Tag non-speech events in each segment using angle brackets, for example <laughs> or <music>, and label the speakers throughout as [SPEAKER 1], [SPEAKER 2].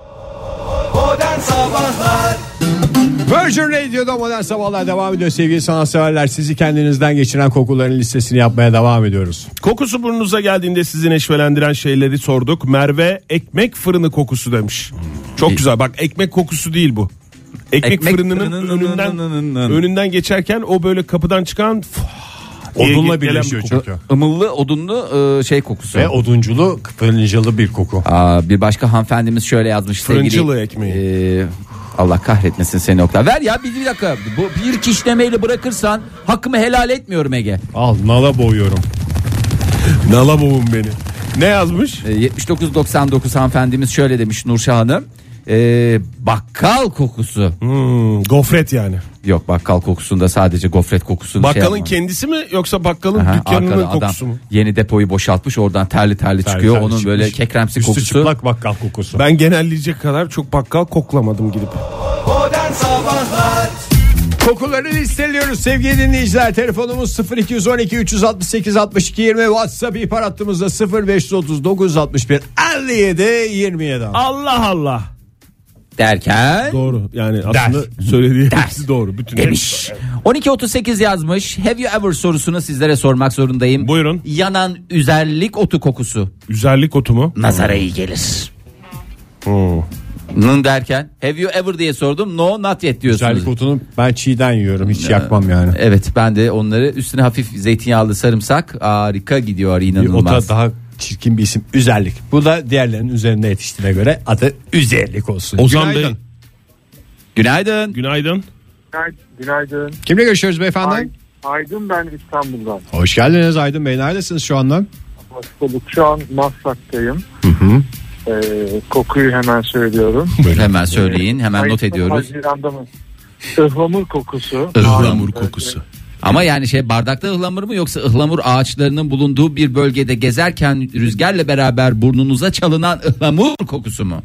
[SPEAKER 1] Oh,
[SPEAKER 2] Modern Sabahlar
[SPEAKER 3] Virgin Radio'da modern sabahlar devam ediyor sevgili sanatseverler. Sizi kendinizden geçiren kokuların listesini yapmaya devam ediyoruz.
[SPEAKER 4] Kokusu burnunuza geldiğinde sizi neşvelendiren şeyleri sorduk. Merve ekmek fırını kokusu demiş. Çok güzel bak ekmek kokusu değil bu. Ekmek,
[SPEAKER 2] Ekmek
[SPEAKER 4] fırınının
[SPEAKER 2] fırının
[SPEAKER 4] önünden
[SPEAKER 2] nın nın nın.
[SPEAKER 4] önünden geçerken o böyle kapıdan çıkan f- diye
[SPEAKER 3] Odunla
[SPEAKER 4] gelen bir
[SPEAKER 3] birleşiyor
[SPEAKER 4] koku.
[SPEAKER 3] çünkü.
[SPEAKER 2] Imıllı odunlu e, şey kokusu.
[SPEAKER 3] Ve odunculu, fırıncılı bir koku.
[SPEAKER 2] Aa, bir başka hanımefendimiz şöyle yazmış sevgili.
[SPEAKER 4] Fırıncılı ekmeği.
[SPEAKER 2] Ee, Allah kahretmesin seni Oktay. Ver ya bir, bir dakika. Bu bir kişnemeyle bırakırsan hakkımı helal etmiyorum Ege.
[SPEAKER 3] Al nala boğuyorum.
[SPEAKER 4] Nala boğun beni. Ne yazmış?
[SPEAKER 2] Ee, 7999 hanımefendimiz şöyle demiş Nurşah Hanım. Ee, bakkal kokusu.
[SPEAKER 4] Hmm, gofret yani.
[SPEAKER 2] Yok bakkal kokusunda sadece gofret kokusunu şey
[SPEAKER 4] Bakkalın
[SPEAKER 2] yapma.
[SPEAKER 4] kendisi mi yoksa bakkalın
[SPEAKER 2] Aha,
[SPEAKER 4] dükkanının
[SPEAKER 2] arkada
[SPEAKER 4] kokusu
[SPEAKER 2] adam
[SPEAKER 4] mu?
[SPEAKER 2] yeni depoyu boşaltmış oradan terli terli, çıkıyor.
[SPEAKER 3] terli
[SPEAKER 2] Onun
[SPEAKER 3] çıkmış.
[SPEAKER 2] böyle kekremsi
[SPEAKER 3] Üstü
[SPEAKER 2] kokusu.
[SPEAKER 3] çıplak bakkal kokusu.
[SPEAKER 4] Ben genelleyecek kadar çok bakkal koklamadım gidip.
[SPEAKER 1] oh, Modern Sabahlar
[SPEAKER 3] Kokuları listeliyoruz sevgili dinleyiciler. Telefonumuz 0212 368 62 20 WhatsApp ihbar hattımızda 0539 61 57 27.
[SPEAKER 4] Allah Allah.
[SPEAKER 2] Derken
[SPEAKER 4] Doğru yani aslında söylediği hepsi doğru. Bütün
[SPEAKER 2] demiş. 1238 yazmış. Have you ever sorusunu sizlere sormak zorundayım.
[SPEAKER 4] Buyurun.
[SPEAKER 2] Yanan üzerlik otu kokusu
[SPEAKER 4] Üzerlik otu mu?
[SPEAKER 2] nazara iyi gelir. Nın derken have you ever diye sordum. No not yet diyorsunuz.
[SPEAKER 3] Güzellik otunu ben çiğden yiyorum hiç yakmam yani.
[SPEAKER 2] Evet ben de onları üstüne hafif zeytinyağlı sarımsak harika gidiyor
[SPEAKER 3] Bir
[SPEAKER 2] inanılmaz.
[SPEAKER 3] ota daha çirkin bir isim üzerlik. Bu da diğerlerinin üzerine yetiştiğine göre adı üzerlik olsun.
[SPEAKER 4] Ozan
[SPEAKER 3] Günaydın.
[SPEAKER 4] Bey.
[SPEAKER 2] Günaydın.
[SPEAKER 4] Günaydın.
[SPEAKER 5] Günaydın.
[SPEAKER 3] Kimle görüşüyoruz beyefendi?
[SPEAKER 5] Ay, Aydın ben İstanbul'dan.
[SPEAKER 3] Hoş geldiniz Aydın Bey. Neredesiniz şu anda?
[SPEAKER 5] Hoş bulduk. Şu an Maslak'tayım. Ee, kokuyu hemen söylüyorum.
[SPEAKER 2] Hemen söyleyin hemen not
[SPEAKER 5] Mayıs'ta,
[SPEAKER 2] ediyoruz.
[SPEAKER 5] Haziran'da mı? Ihlamur kokusu.
[SPEAKER 2] Ihlamur
[SPEAKER 5] kokusu.
[SPEAKER 2] Ama yani şey bardakta ıhlamur mu yoksa ıhlamur ağaçlarının bulunduğu bir bölgede gezerken rüzgarla beraber burnunuza çalınan ıhlamur kokusu mu?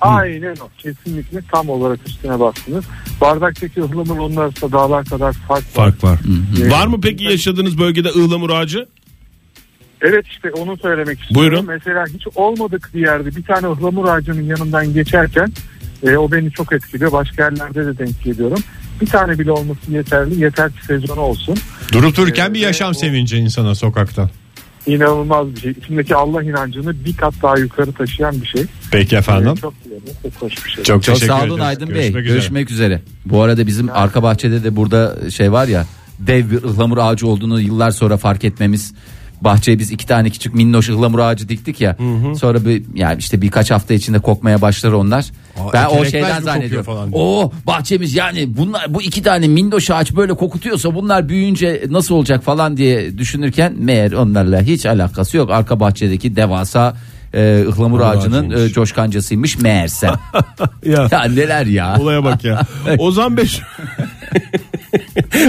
[SPEAKER 5] Aynen o. Kesinlikle tam olarak üstüne bastınız. Bardaktaki ıhlamur onun arasında dağlar kadar fark var.
[SPEAKER 4] Fark var.
[SPEAKER 5] Ee,
[SPEAKER 4] Var mı peki yaşadığınız bölgede ıhlamur ağacı?
[SPEAKER 5] Evet işte onu söylemek istiyorum.
[SPEAKER 4] Buyurun.
[SPEAKER 5] Mesela hiç olmadık bir yerde bir tane ıhlamur ağacının yanından geçerken e, o beni çok etkiliyor. Başka yerlerde de denk geliyorum. Bir tane bile olması yeterli. Yeter ki sezonu olsun.
[SPEAKER 3] Durup dururken bir
[SPEAKER 5] Ee,
[SPEAKER 3] yaşam
[SPEAKER 5] o-
[SPEAKER 3] sevinci insana sokakta.
[SPEAKER 5] İnanılmaz bir şey. İçimdeki Allah inancını bir kat daha yukarı taşıyan bir şey.
[SPEAKER 3] Peki efendim.
[SPEAKER 5] Ee, çok beğendim. Çok hoş bir
[SPEAKER 3] Çok,
[SPEAKER 5] şey.
[SPEAKER 2] Çok
[SPEAKER 3] teşekkür
[SPEAKER 2] sağ olun
[SPEAKER 3] ederiz.
[SPEAKER 2] Aydın Bey.
[SPEAKER 3] Görüşmek üzere.
[SPEAKER 2] Görüşmek üzere. Bu arada bizim arka bahçede de burada şey var ya dev bir ıhlamur ağacı olduğunu yıllar sonra fark etmemiz. Bahçeye biz iki tane küçük minnoş ıhlamur ağacı diktik ya. Sonra bir yani işte birkaç hafta içinde kokmaya başlar onlar.
[SPEAKER 3] Aa,
[SPEAKER 2] ben o
[SPEAKER 3] ekinekler mi
[SPEAKER 2] şeyden
[SPEAKER 3] kokuyor
[SPEAKER 2] zannediyorum.
[SPEAKER 3] falan?
[SPEAKER 2] O bahçemiz yani bunlar bu iki tane minnoş ağaç böyle kokutuyorsa bunlar büyüyünce nasıl olacak falan diye düşünürken meğer onlarla hiç alakası yok. Arka bahçedeki devasa e, ıhlamur ağacının e,
[SPEAKER 3] <laughs>
[SPEAKER 2] coşkancasıymış meğerse.
[SPEAKER 4] Ya.
[SPEAKER 2] Ya neler ya.
[SPEAKER 4] Olaya bak ya. <laughs> Ozan Bey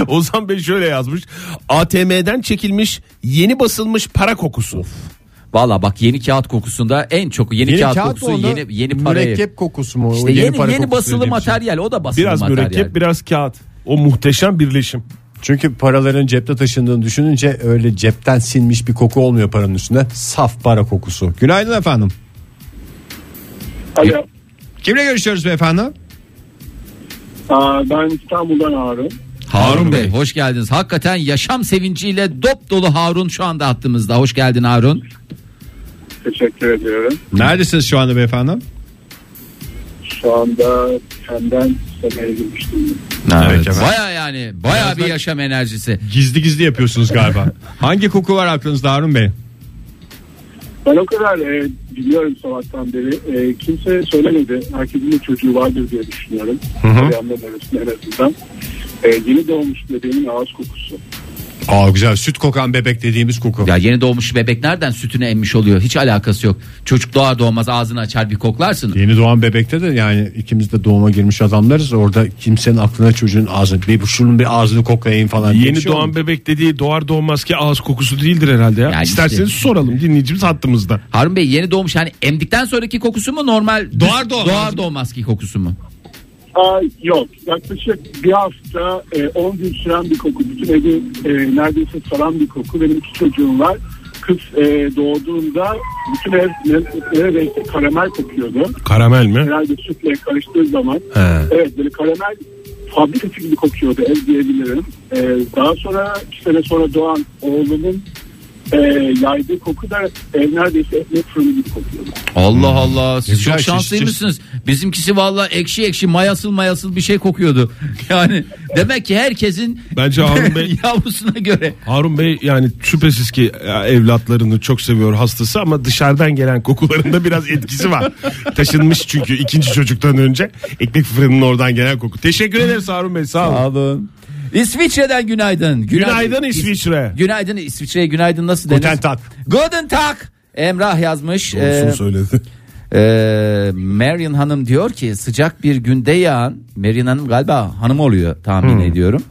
[SPEAKER 4] Ozan Bey şöyle yazmış. ATM'den çekilmiş yeni basılmış para kokusu.
[SPEAKER 2] Valla bak yeni kağıt kokusunda en çok yeni,
[SPEAKER 3] Yeni
[SPEAKER 2] kağıt,
[SPEAKER 3] kağıt,
[SPEAKER 2] kokusu
[SPEAKER 3] onda
[SPEAKER 2] yeni yeni para.
[SPEAKER 3] Mürekkep kokusu mu?
[SPEAKER 2] İşte yeni yeni,
[SPEAKER 3] para kokusu
[SPEAKER 2] basılı
[SPEAKER 3] dediğim şey.
[SPEAKER 2] materyal o da basılı
[SPEAKER 4] Biraz
[SPEAKER 2] materyal.
[SPEAKER 4] mürekkep biraz kağıt. O muhteşem birleşim.
[SPEAKER 3] Çünkü paraların cepte taşındığını düşününce öyle cepten sinmiş bir koku olmuyor paranın üstünde. Saf para kokusu. Günaydın efendim.
[SPEAKER 6] Alo.
[SPEAKER 3] Kimle görüşüyoruz beyefendi?
[SPEAKER 6] Aa, ben İstanbul'dan Harun.
[SPEAKER 2] Harun Bey hoş geldiniz. Hakikaten yaşam sevinciyle dop dolu Harun şu anda hattımızda. Hoş geldin Harun.
[SPEAKER 6] Teşekkür ediyorum.
[SPEAKER 3] Neredesiniz şu anda beyefendi?
[SPEAKER 6] Şu anda senden seneye girmiştim.
[SPEAKER 3] Evet. efendim.
[SPEAKER 2] Baya yani baya bir yaşam enerjisi.
[SPEAKER 3] Gizli gizli yapıyorsunuz <laughs> galiba. Hangi koku var aklınızda Harun Bey?
[SPEAKER 6] Ben o kadar e, biliyorum sabahtan beri. E, kimse söylemedi. Herkesin bir çocuğu vardır diye düşünüyorum. Arayanların arasında en azından. E, yeni doğmuş bebeğin ağız kokusu.
[SPEAKER 3] Aa güzel süt kokan bebek dediğimiz koku.
[SPEAKER 2] Ya yeni doğmuş bebek nereden sütünü emmiş oluyor? Hiç alakası yok. Çocuk doğar doğmaz ağzını açar bir koklarsın.
[SPEAKER 3] Yeni doğan bebekte de yani ikimiz de doğuma girmiş adamlarız. Orada kimsenin aklına çocuğun ağzını bir şunun bir ağzını koklayayım falan. diye bir
[SPEAKER 4] Yeni
[SPEAKER 3] şey
[SPEAKER 4] doğan
[SPEAKER 3] olmuyor.
[SPEAKER 4] bebek dediği doğar doğmaz ki ağız kokusu değildir herhalde ya.
[SPEAKER 2] Yani
[SPEAKER 4] İsterseniz
[SPEAKER 2] işte.
[SPEAKER 4] soralım dinleyicimiz hattımızda.
[SPEAKER 2] Harun Bey yeni doğmuş yani emdikten sonraki kokusu mu normal
[SPEAKER 4] Doğar doğmaz
[SPEAKER 2] doğar
[SPEAKER 4] mı?
[SPEAKER 2] doğmaz ki kokusu mu?
[SPEAKER 6] Aa, yok. Yaklaşık bir hafta e, 10 gün süren bir koku. Bütün evi e, neredeyse saran bir koku. Benim iki çocuğum var. kız e, doğduğunda bütün ev ev renkli karamel kokuyordu.
[SPEAKER 4] Karamel mi?
[SPEAKER 6] Herhalde sütle karıştığı zaman
[SPEAKER 4] He.
[SPEAKER 6] evet böyle karamel fabrikası gibi kokuyordu ev diyebilirim. E, daha sonra iki sene sonra doğan oğlumun e, yaydığı koku da ev neredeyse ekmek fırını gibi kokuyordu.
[SPEAKER 2] Allah Allah siz
[SPEAKER 4] Hmm. Güzel
[SPEAKER 2] çok
[SPEAKER 4] şişçi.
[SPEAKER 2] şanslıymışsınız. Bizimkisi valla ekşi ekşi mayasıl mayasıl bir şey kokuyordu. <laughs> Yani demek ki herkesin
[SPEAKER 4] Bence Harun
[SPEAKER 2] <laughs>
[SPEAKER 4] Bey
[SPEAKER 2] yavrusuna göre.
[SPEAKER 4] Harun Bey yani şüphesiz ki e, evlatlarını çok seviyor hastası ama dışarıdan gelen kokularında biraz etkisi
[SPEAKER 2] <laughs>
[SPEAKER 4] var. Taşınmış çünkü ikinci çocuktan önce ekmek fırınının oradan gelen koku. Teşekkür ederiz Harun Bey sağ olun.
[SPEAKER 2] Alın. İsviçre'den günaydın.
[SPEAKER 4] Günaydın İsviçre.
[SPEAKER 2] Günaydın İsviçre'ye günaydın nasıl denir?
[SPEAKER 4] Guten Tag.
[SPEAKER 2] Guten Tag. Emrah yazmış. Ee,
[SPEAKER 4] Olsun söyledi.
[SPEAKER 2] Ee, Marion Hanım diyor ki sıcak bir günde yağan Marion Hanım galiba hanım oluyor tahmin
[SPEAKER 4] Hmm.
[SPEAKER 2] ediyorum.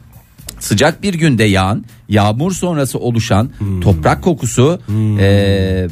[SPEAKER 2] Sıcak bir günde yağan yağmur sonrası oluşan
[SPEAKER 4] Hmm.
[SPEAKER 2] toprak kokusu ee,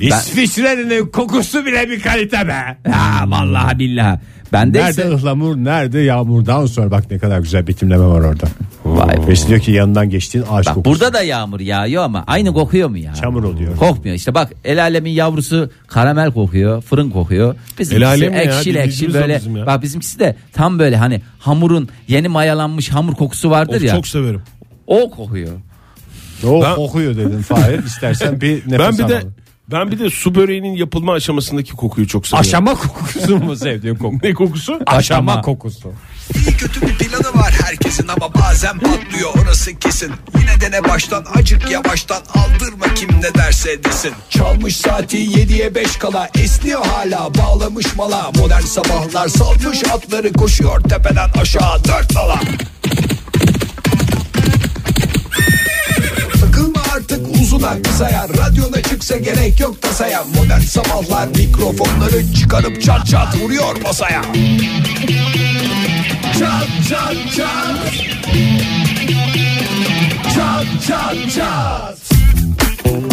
[SPEAKER 2] ben-
[SPEAKER 3] İsviçre'nin kokusu bile bir kalite be.
[SPEAKER 2] Ha, vallahi billahi. Bende
[SPEAKER 3] Nerede
[SPEAKER 2] ise
[SPEAKER 3] ıhlamur nerede yağmurdan sonra bak ne kadar güzel betimleme var orada.
[SPEAKER 2] Vay be.
[SPEAKER 3] Ve diyor ki yanından geçtiğin ağaç
[SPEAKER 2] Bak
[SPEAKER 3] kokusu.
[SPEAKER 2] burada da yağmur yağıyor ama aynı kokuyor mu ya?
[SPEAKER 3] Çamur oluyor.
[SPEAKER 2] Kokmuyor. İşte bak el alemin yavrusu karamel kokuyor, fırın kokuyor.
[SPEAKER 4] El
[SPEAKER 2] Bizimkisi
[SPEAKER 4] alem ne ya?
[SPEAKER 2] ekşil ekşil
[SPEAKER 4] Dinleyicimiz o
[SPEAKER 2] böyle.
[SPEAKER 4] bizim ya.
[SPEAKER 2] Bak bizimkisi de tam böyle hani hamurun yeni mayalanmış hamur kokusu vardır
[SPEAKER 4] Of,
[SPEAKER 2] ya.
[SPEAKER 4] çok severim.
[SPEAKER 2] O kokuyor.
[SPEAKER 3] O
[SPEAKER 4] Ben-
[SPEAKER 3] kokuyor dedim Fahir. İstersen bir nefes
[SPEAKER 4] Ben bir de
[SPEAKER 3] alalım.
[SPEAKER 4] ben bir de su böreğinin yapılma aşamasındaki kokuyu çok seviyorum.
[SPEAKER 3] Aşama kokusu mu sevdiğin koku?
[SPEAKER 4] <laughs> ne kokusu?
[SPEAKER 3] Aşama kokusu.
[SPEAKER 1] İyi kötü bir planı var herkesin ama bazen patlıyor orası kesin. Yine dene baştan acık yavaştan aldırma kim ne derse desin. Çalmış saati 7'ye 5 kala esniyor hala bağlamış mala. Modern sabahlar salmış atları koşuyor tepeden aşağı dört nala. Takılma artık uzuna kısaya Radyona çıksa gerek yok tasaya Modern sabahlar mikrofonları çıkarıp çat çat vuruyor masaya Çat çat çat Çat çat çat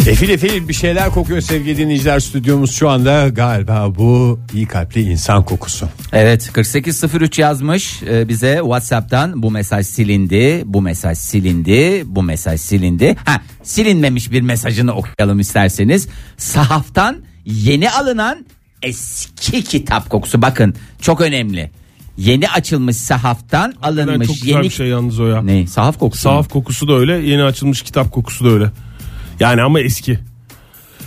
[SPEAKER 3] Efil efil bir şeyler kokuyor sevgili dinleyiciler. Stüdyomuz şu anda galiba bu iyi kalpli insan kokusu.
[SPEAKER 2] Evet 4803 yazmış e, bize Whatsapp'tan bu mesaj silindi, bu mesaj silindi, bu mesaj silindi. Ha silinmemiş bir mesajını okuyalım isterseniz. Sahaftan yeni alınan eski kitap kokusu bakın çok önemli. Yeni açılmış sahaftan
[SPEAKER 4] Yani
[SPEAKER 2] alınmış
[SPEAKER 4] çok güzel
[SPEAKER 2] yeni
[SPEAKER 4] bir şey yalnız o ya.
[SPEAKER 2] ne sahaf kokusu. mu?
[SPEAKER 4] Sahaf kokusu da öyle, yeni açılmış kitap kokusu da öyle. Yani ama eski.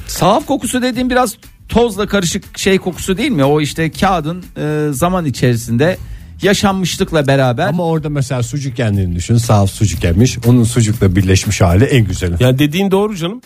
[SPEAKER 2] Sahaf kokusu dediğim biraz tozla karışık şey kokusu değil mi? O işte kağıdın e, zaman içerisinde yaşanmışlıkla beraber
[SPEAKER 3] Ama orada mesela sucuk yendiğini düşün. Sağ sucuk yemiş. Onun sucukla birleşmiş hali en güzeli.
[SPEAKER 4] Yani dediğin doğru canım.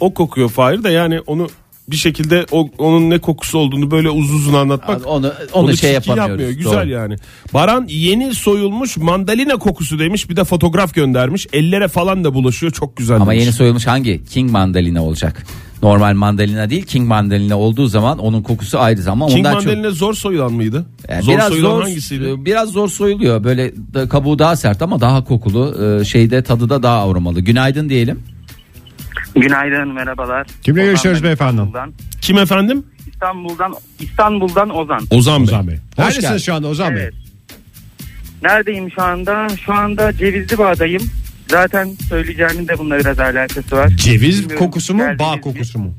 [SPEAKER 4] O kokuyor Fahir de yani onu bir şekilde o, onun ne kokusu olduğunu böyle uzun uzun anlatmak.
[SPEAKER 2] Abi onu- onu şey
[SPEAKER 4] çirkin
[SPEAKER 2] yapamıyoruz.
[SPEAKER 4] yapmıyor. Güzel
[SPEAKER 2] Doğru.
[SPEAKER 4] yani. Baran yeni soyulmuş mandalina kokusu demiş. Bir de fotoğraf göndermiş. Ellere falan da bulaşıyor. Çok güzel
[SPEAKER 2] Ama
[SPEAKER 4] demiş.
[SPEAKER 2] yeni soyulmuş hangi? King mandalina olacak. Normal mandalina değil King mandalina olduğu zaman onun kokusu ayrı zaman
[SPEAKER 4] King
[SPEAKER 2] ondan
[SPEAKER 4] mandalina zor soyulan mıydı?
[SPEAKER 2] çok Yani
[SPEAKER 4] zor
[SPEAKER 2] biraz
[SPEAKER 4] soyulan
[SPEAKER 2] zor Ee,
[SPEAKER 4] hangisiydi?
[SPEAKER 2] biraz zor soyuluyor. Böyle da- kabuğu daha sert ama daha kokulu. e, şeyde tadı da daha aromalı. Günaydın diyelim.
[SPEAKER 7] Günaydın merhabalar.
[SPEAKER 3] Kimle
[SPEAKER 7] Ozan
[SPEAKER 3] görüşüyoruz
[SPEAKER 7] ben
[SPEAKER 3] beyefendi?
[SPEAKER 7] İstanbul'dan.
[SPEAKER 4] Kim efendim?
[SPEAKER 7] İstanbul'dan İstanbul'dan Ozan.
[SPEAKER 4] Ozan,
[SPEAKER 3] Ozan
[SPEAKER 4] Bey.
[SPEAKER 3] Bey. Neredesiniz
[SPEAKER 2] geldin.
[SPEAKER 3] şu anda Ozan
[SPEAKER 7] Evet. Neredeyim şu anda? Şu anda Cevizli Bağ'dayım. Zaten söyleyeceğimin de bununla biraz alakası var.
[SPEAKER 3] Bey? Ceviz
[SPEAKER 7] Bilmiyorum,
[SPEAKER 3] kokusu mu
[SPEAKER 7] geldiniz
[SPEAKER 3] bağ
[SPEAKER 7] mi?
[SPEAKER 3] kokusu mu?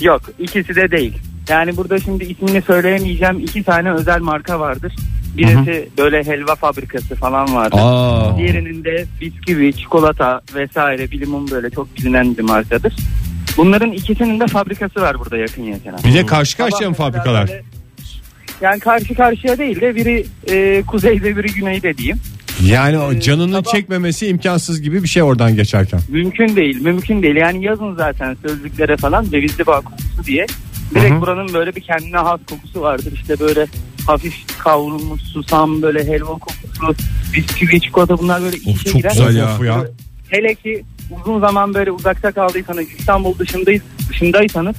[SPEAKER 7] Yok ikisi de değil. Yani burada şimdi ismini söyleyemeyeceğim iki tane özel marka vardır. Birisi böyle helva fabrikası falan vardır.
[SPEAKER 2] Aa.
[SPEAKER 7] Diğerinin de bisküvi, çikolata vesaire bir limon böyle çok bilinen bir markadır. Bunların ikisinin de fabrikası var burada yakın yakına.
[SPEAKER 3] Bir de karşı karşıya mı
[SPEAKER 7] Sabah mesela
[SPEAKER 3] fabrikalar?
[SPEAKER 7] böyle- Yani karşı karşıya değil de biri e, kuzeyde biri güneyde diyeyim.
[SPEAKER 3] Yani o
[SPEAKER 7] Ee,
[SPEAKER 3] canının
[SPEAKER 7] sabah-
[SPEAKER 3] çekmemesi imkansız gibi bir şey oradan geçerken.
[SPEAKER 7] Mümkün değil, mümkün değil. Yani yazın zaten sözlüklere falan cevizli bağ kokusu diye. Direkt buranın böyle bir kendine has kokusu vardır. İşte böyle hafif kavrulmuş susam, böyle helva kokusu, bisküvi, çikolata bunlar böyle iç içe
[SPEAKER 4] çok
[SPEAKER 7] girer.
[SPEAKER 4] güzel ya.
[SPEAKER 3] Of ya.
[SPEAKER 7] Hele ki uzun zaman böyle uzakta kaldıysanız, İstanbul dışındayız, dışındaysanız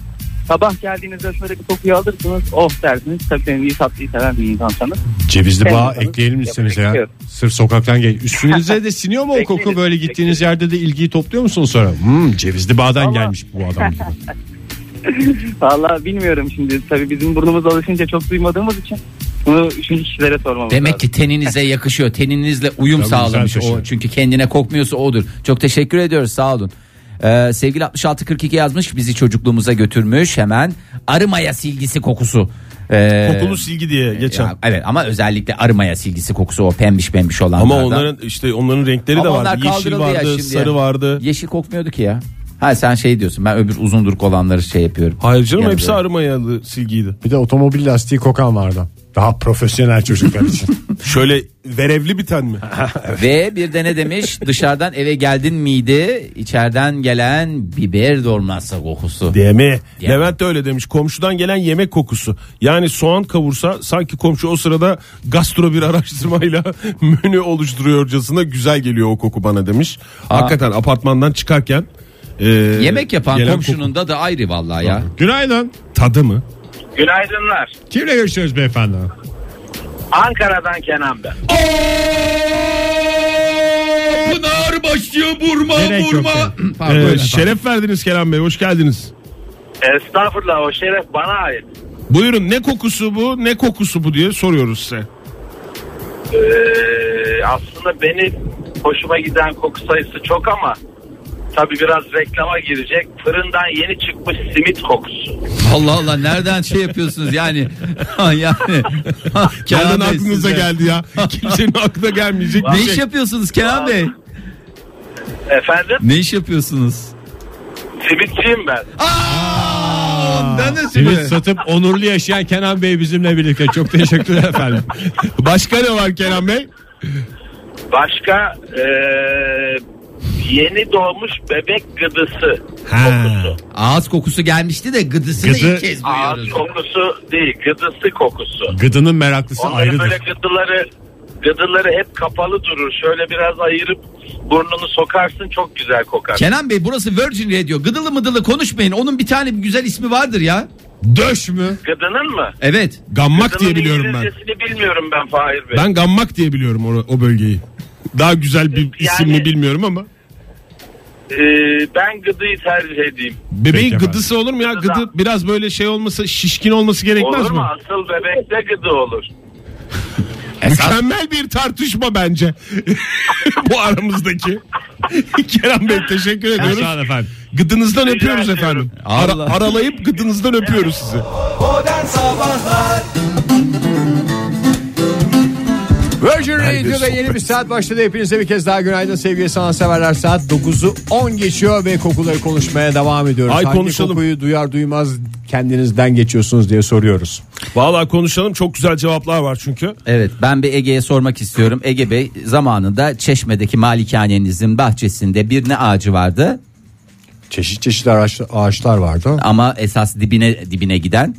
[SPEAKER 7] sabah geldiğinizde şöyle bir kokuyu alırsınız, oh dersiniz. Tabii benim iyi tatlıyı seven bir insansanız.
[SPEAKER 3] Cevizli
[SPEAKER 7] Ben
[SPEAKER 3] bağ
[SPEAKER 7] insanım.
[SPEAKER 3] ekleyelim iseniz ya.
[SPEAKER 7] Yapıyorum.
[SPEAKER 3] Sırf sokaktan gel. Üstünüze de siniyor mu o koku
[SPEAKER 7] Bekleriz,
[SPEAKER 3] böyle gittiğiniz yerde de ilgiyi topluyor musunuz sonra? Hmm, cevizli bağdan gelmiş bu adam gibi.
[SPEAKER 7] Vallahi bilmiyorum şimdi. Tabii bizim burnumuz alışınca çok duymadığımız için bunu üçüncü kişilere sormamız lazım.
[SPEAKER 2] Demek ki teninize yakışıyor. Teninizle uyum
[SPEAKER 3] Tabii,
[SPEAKER 2] sağlamış
[SPEAKER 3] güzel
[SPEAKER 2] o.
[SPEAKER 3] taşı.
[SPEAKER 2] Çünkü kendine kokmuyorsa odur. Çok teşekkür ediyoruz. Sağ olun. Ee, sevgili 6642 yazmış bizi çocukluğumuza götürmüş hemen arımaya silgisi kokusu. Ee,
[SPEAKER 8] Kokulu silgi diye geçen.
[SPEAKER 2] ya, evet ama özellikle arımaya silgisi kokusu o pembiş pembiş olanlardan.
[SPEAKER 8] ama onların işte onların renkleri de
[SPEAKER 2] Ama
[SPEAKER 8] vardı.
[SPEAKER 2] onlar
[SPEAKER 8] Yeşil
[SPEAKER 2] kaldırıldı ya
[SPEAKER 8] vardı,
[SPEAKER 2] şimdi.
[SPEAKER 8] sarı vardı.
[SPEAKER 2] Yeşil kokmuyordu ki ya. Ha sen şey diyorsun ben öbür uzunduruk olanları şey yapıyorum.
[SPEAKER 8] Hayır canım
[SPEAKER 2] Yani
[SPEAKER 8] hepsi
[SPEAKER 2] böyle.
[SPEAKER 8] arımayalı silgiydi.
[SPEAKER 3] <laughs> Bir de otomobil lastiği kokan vardı. Daha profesyonel çocuklar <laughs> için.
[SPEAKER 8] Şöyle verevli biten
[SPEAKER 2] <laughs>
[SPEAKER 8] mi?
[SPEAKER 2] Ve bir de ne demiş <laughs> dışarıdan eve geldin miydi içeriden gelen biber dolması kokusu.
[SPEAKER 8] Değil mi?
[SPEAKER 2] Değil mi?
[SPEAKER 8] Levent de öyle demiş. Komşudan gelen yemek kokusu. Yani soğan kavursa sanki komşu o sırada gastro bir araştırmayla <laughs> menü oluşturuyorcasına güzel geliyor o koku bana demiş. Hakikaten apartmandan çıkarken e,
[SPEAKER 2] Yemek yapan
[SPEAKER 8] gelen
[SPEAKER 2] komşunun da da ayrı vallahi ya.
[SPEAKER 3] Günaydın.
[SPEAKER 8] koku- tadı mı?
[SPEAKER 9] Günaydınlar.
[SPEAKER 3] Kimle görüşüyoruz beyefendi?
[SPEAKER 9] Ankara'dan Kenan ben.
[SPEAKER 2] Pınar başlıyor vurma
[SPEAKER 3] Gerek yok
[SPEAKER 8] <clears throat>
[SPEAKER 2] vurma.
[SPEAKER 3] yani.
[SPEAKER 2] Pardon,
[SPEAKER 8] E,
[SPEAKER 2] efendim.
[SPEAKER 8] şeref verdiniz Kerem Bey. Hoş geldiniz.
[SPEAKER 9] Estağfurullah o şeref bana ait.
[SPEAKER 8] Buyurun ne kokusu bu ne kokusu bu diye soruyoruz size.
[SPEAKER 9] Ee, aslında beni hoşuma giden koku sayısı çok ama tabi biraz reklama girecek. Fırından yeni çıkmış simit kokusu.
[SPEAKER 2] Allah Allah nereden şey yapıyorsunuz yani. <laughs> yani. Kenan
[SPEAKER 8] Nereden
[SPEAKER 2] Bey, siz
[SPEAKER 8] aklınıza
[SPEAKER 2] de-
[SPEAKER 8] geldi ya? Kimsenin aklına gelmeyecek bir
[SPEAKER 2] Ne iş
[SPEAKER 8] şey.
[SPEAKER 2] yapıyorsunuz Kenan Bey?
[SPEAKER 9] Efendim?
[SPEAKER 2] Ne iş yapıyorsunuz?
[SPEAKER 9] Simitçiyim ben.
[SPEAKER 3] Simit satıp onurlu yaşayan Kenan Bey bizimle birlikte. Çok teşekkürler efendim. <laughs>
[SPEAKER 8] Başka ne var Kerem Bey?
[SPEAKER 9] Başka ee, yeni doğmuş bebek gıdısı kokusu.
[SPEAKER 2] Ağız kokusu gelmişti de gıdısını
[SPEAKER 3] Gıdı-
[SPEAKER 2] ilk kez
[SPEAKER 9] Ağız
[SPEAKER 2] duyuyoruz.
[SPEAKER 9] kokusu değil gıdısı kokusu.
[SPEAKER 3] Gıdının meraklısı
[SPEAKER 9] Onların böyle gıdıları gıdıları hep kapalı durur. Şöyle biraz ayırıp burnunu sokarsın çok güzel kokar.
[SPEAKER 2] Kenan Bey burası Virgin Radio. Gıdılı mıdılı konuşmayın. Onun bir tane bir güzel ismi vardır ya.
[SPEAKER 8] Döş mü?
[SPEAKER 9] Gıdının mı?
[SPEAKER 2] Evet.
[SPEAKER 8] Gammak
[SPEAKER 9] Gıdının
[SPEAKER 8] diye biliyorum ben.
[SPEAKER 9] İngilizcesini bilmiyorum ben Fahir Bey.
[SPEAKER 8] Ben gammak diye biliyorum o, o bölgeyi. Daha güzel bir isim mi
[SPEAKER 9] Yani-
[SPEAKER 8] bilmiyorum ama.
[SPEAKER 9] Ee, ben gıdıyı tercih edeyim.
[SPEAKER 8] Bebeğin
[SPEAKER 3] Peki
[SPEAKER 8] gıdısı olur mu ya?
[SPEAKER 9] Gıdıda.
[SPEAKER 8] Gıdı biraz böyle şey olması şişkin olması gerekmez
[SPEAKER 9] Olur
[SPEAKER 8] mi?
[SPEAKER 9] mu? Asıl bebekte gıdı olur.
[SPEAKER 8] Mükemmel bir tartışma bence. <laughs> Bu aramızdaki. <laughs> Kerem Bey teşekkür ediyoruz.
[SPEAKER 3] Sağ olun efendim.
[SPEAKER 8] Gıdınızdan öpüyoruz
[SPEAKER 9] ediyorum.
[SPEAKER 8] efendim.
[SPEAKER 2] Allah.
[SPEAKER 8] Ara- aralayıp gıdınızdan öpüyoruz sizi.
[SPEAKER 1] Modern Sabahlar
[SPEAKER 3] Virgin Radio'da yeni bir saat başladı. Hepinize bir kez daha günaydın sevgili sanatseverler. Saat 9'u 10 geçiyor ve kokuları konuşmaya devam ediyoruz.
[SPEAKER 8] Ay,
[SPEAKER 3] Hangi
[SPEAKER 8] konuşalım.
[SPEAKER 3] kokuyu duyar duymaz kendinizden geçiyorsunuz diye soruyoruz.
[SPEAKER 8] Vallahi konuşalım çok güzel cevaplar var çünkü.
[SPEAKER 2] Evet ben bir Ege'ye sormak istiyorum. Ege Bey zamanında Çeşme'deki malikanenizin bahçesinde bir ne ağacı vardı
[SPEAKER 3] Çeşit çeşit ağaç- ağaçlar vardı.
[SPEAKER 2] ama esas dibine dibine giden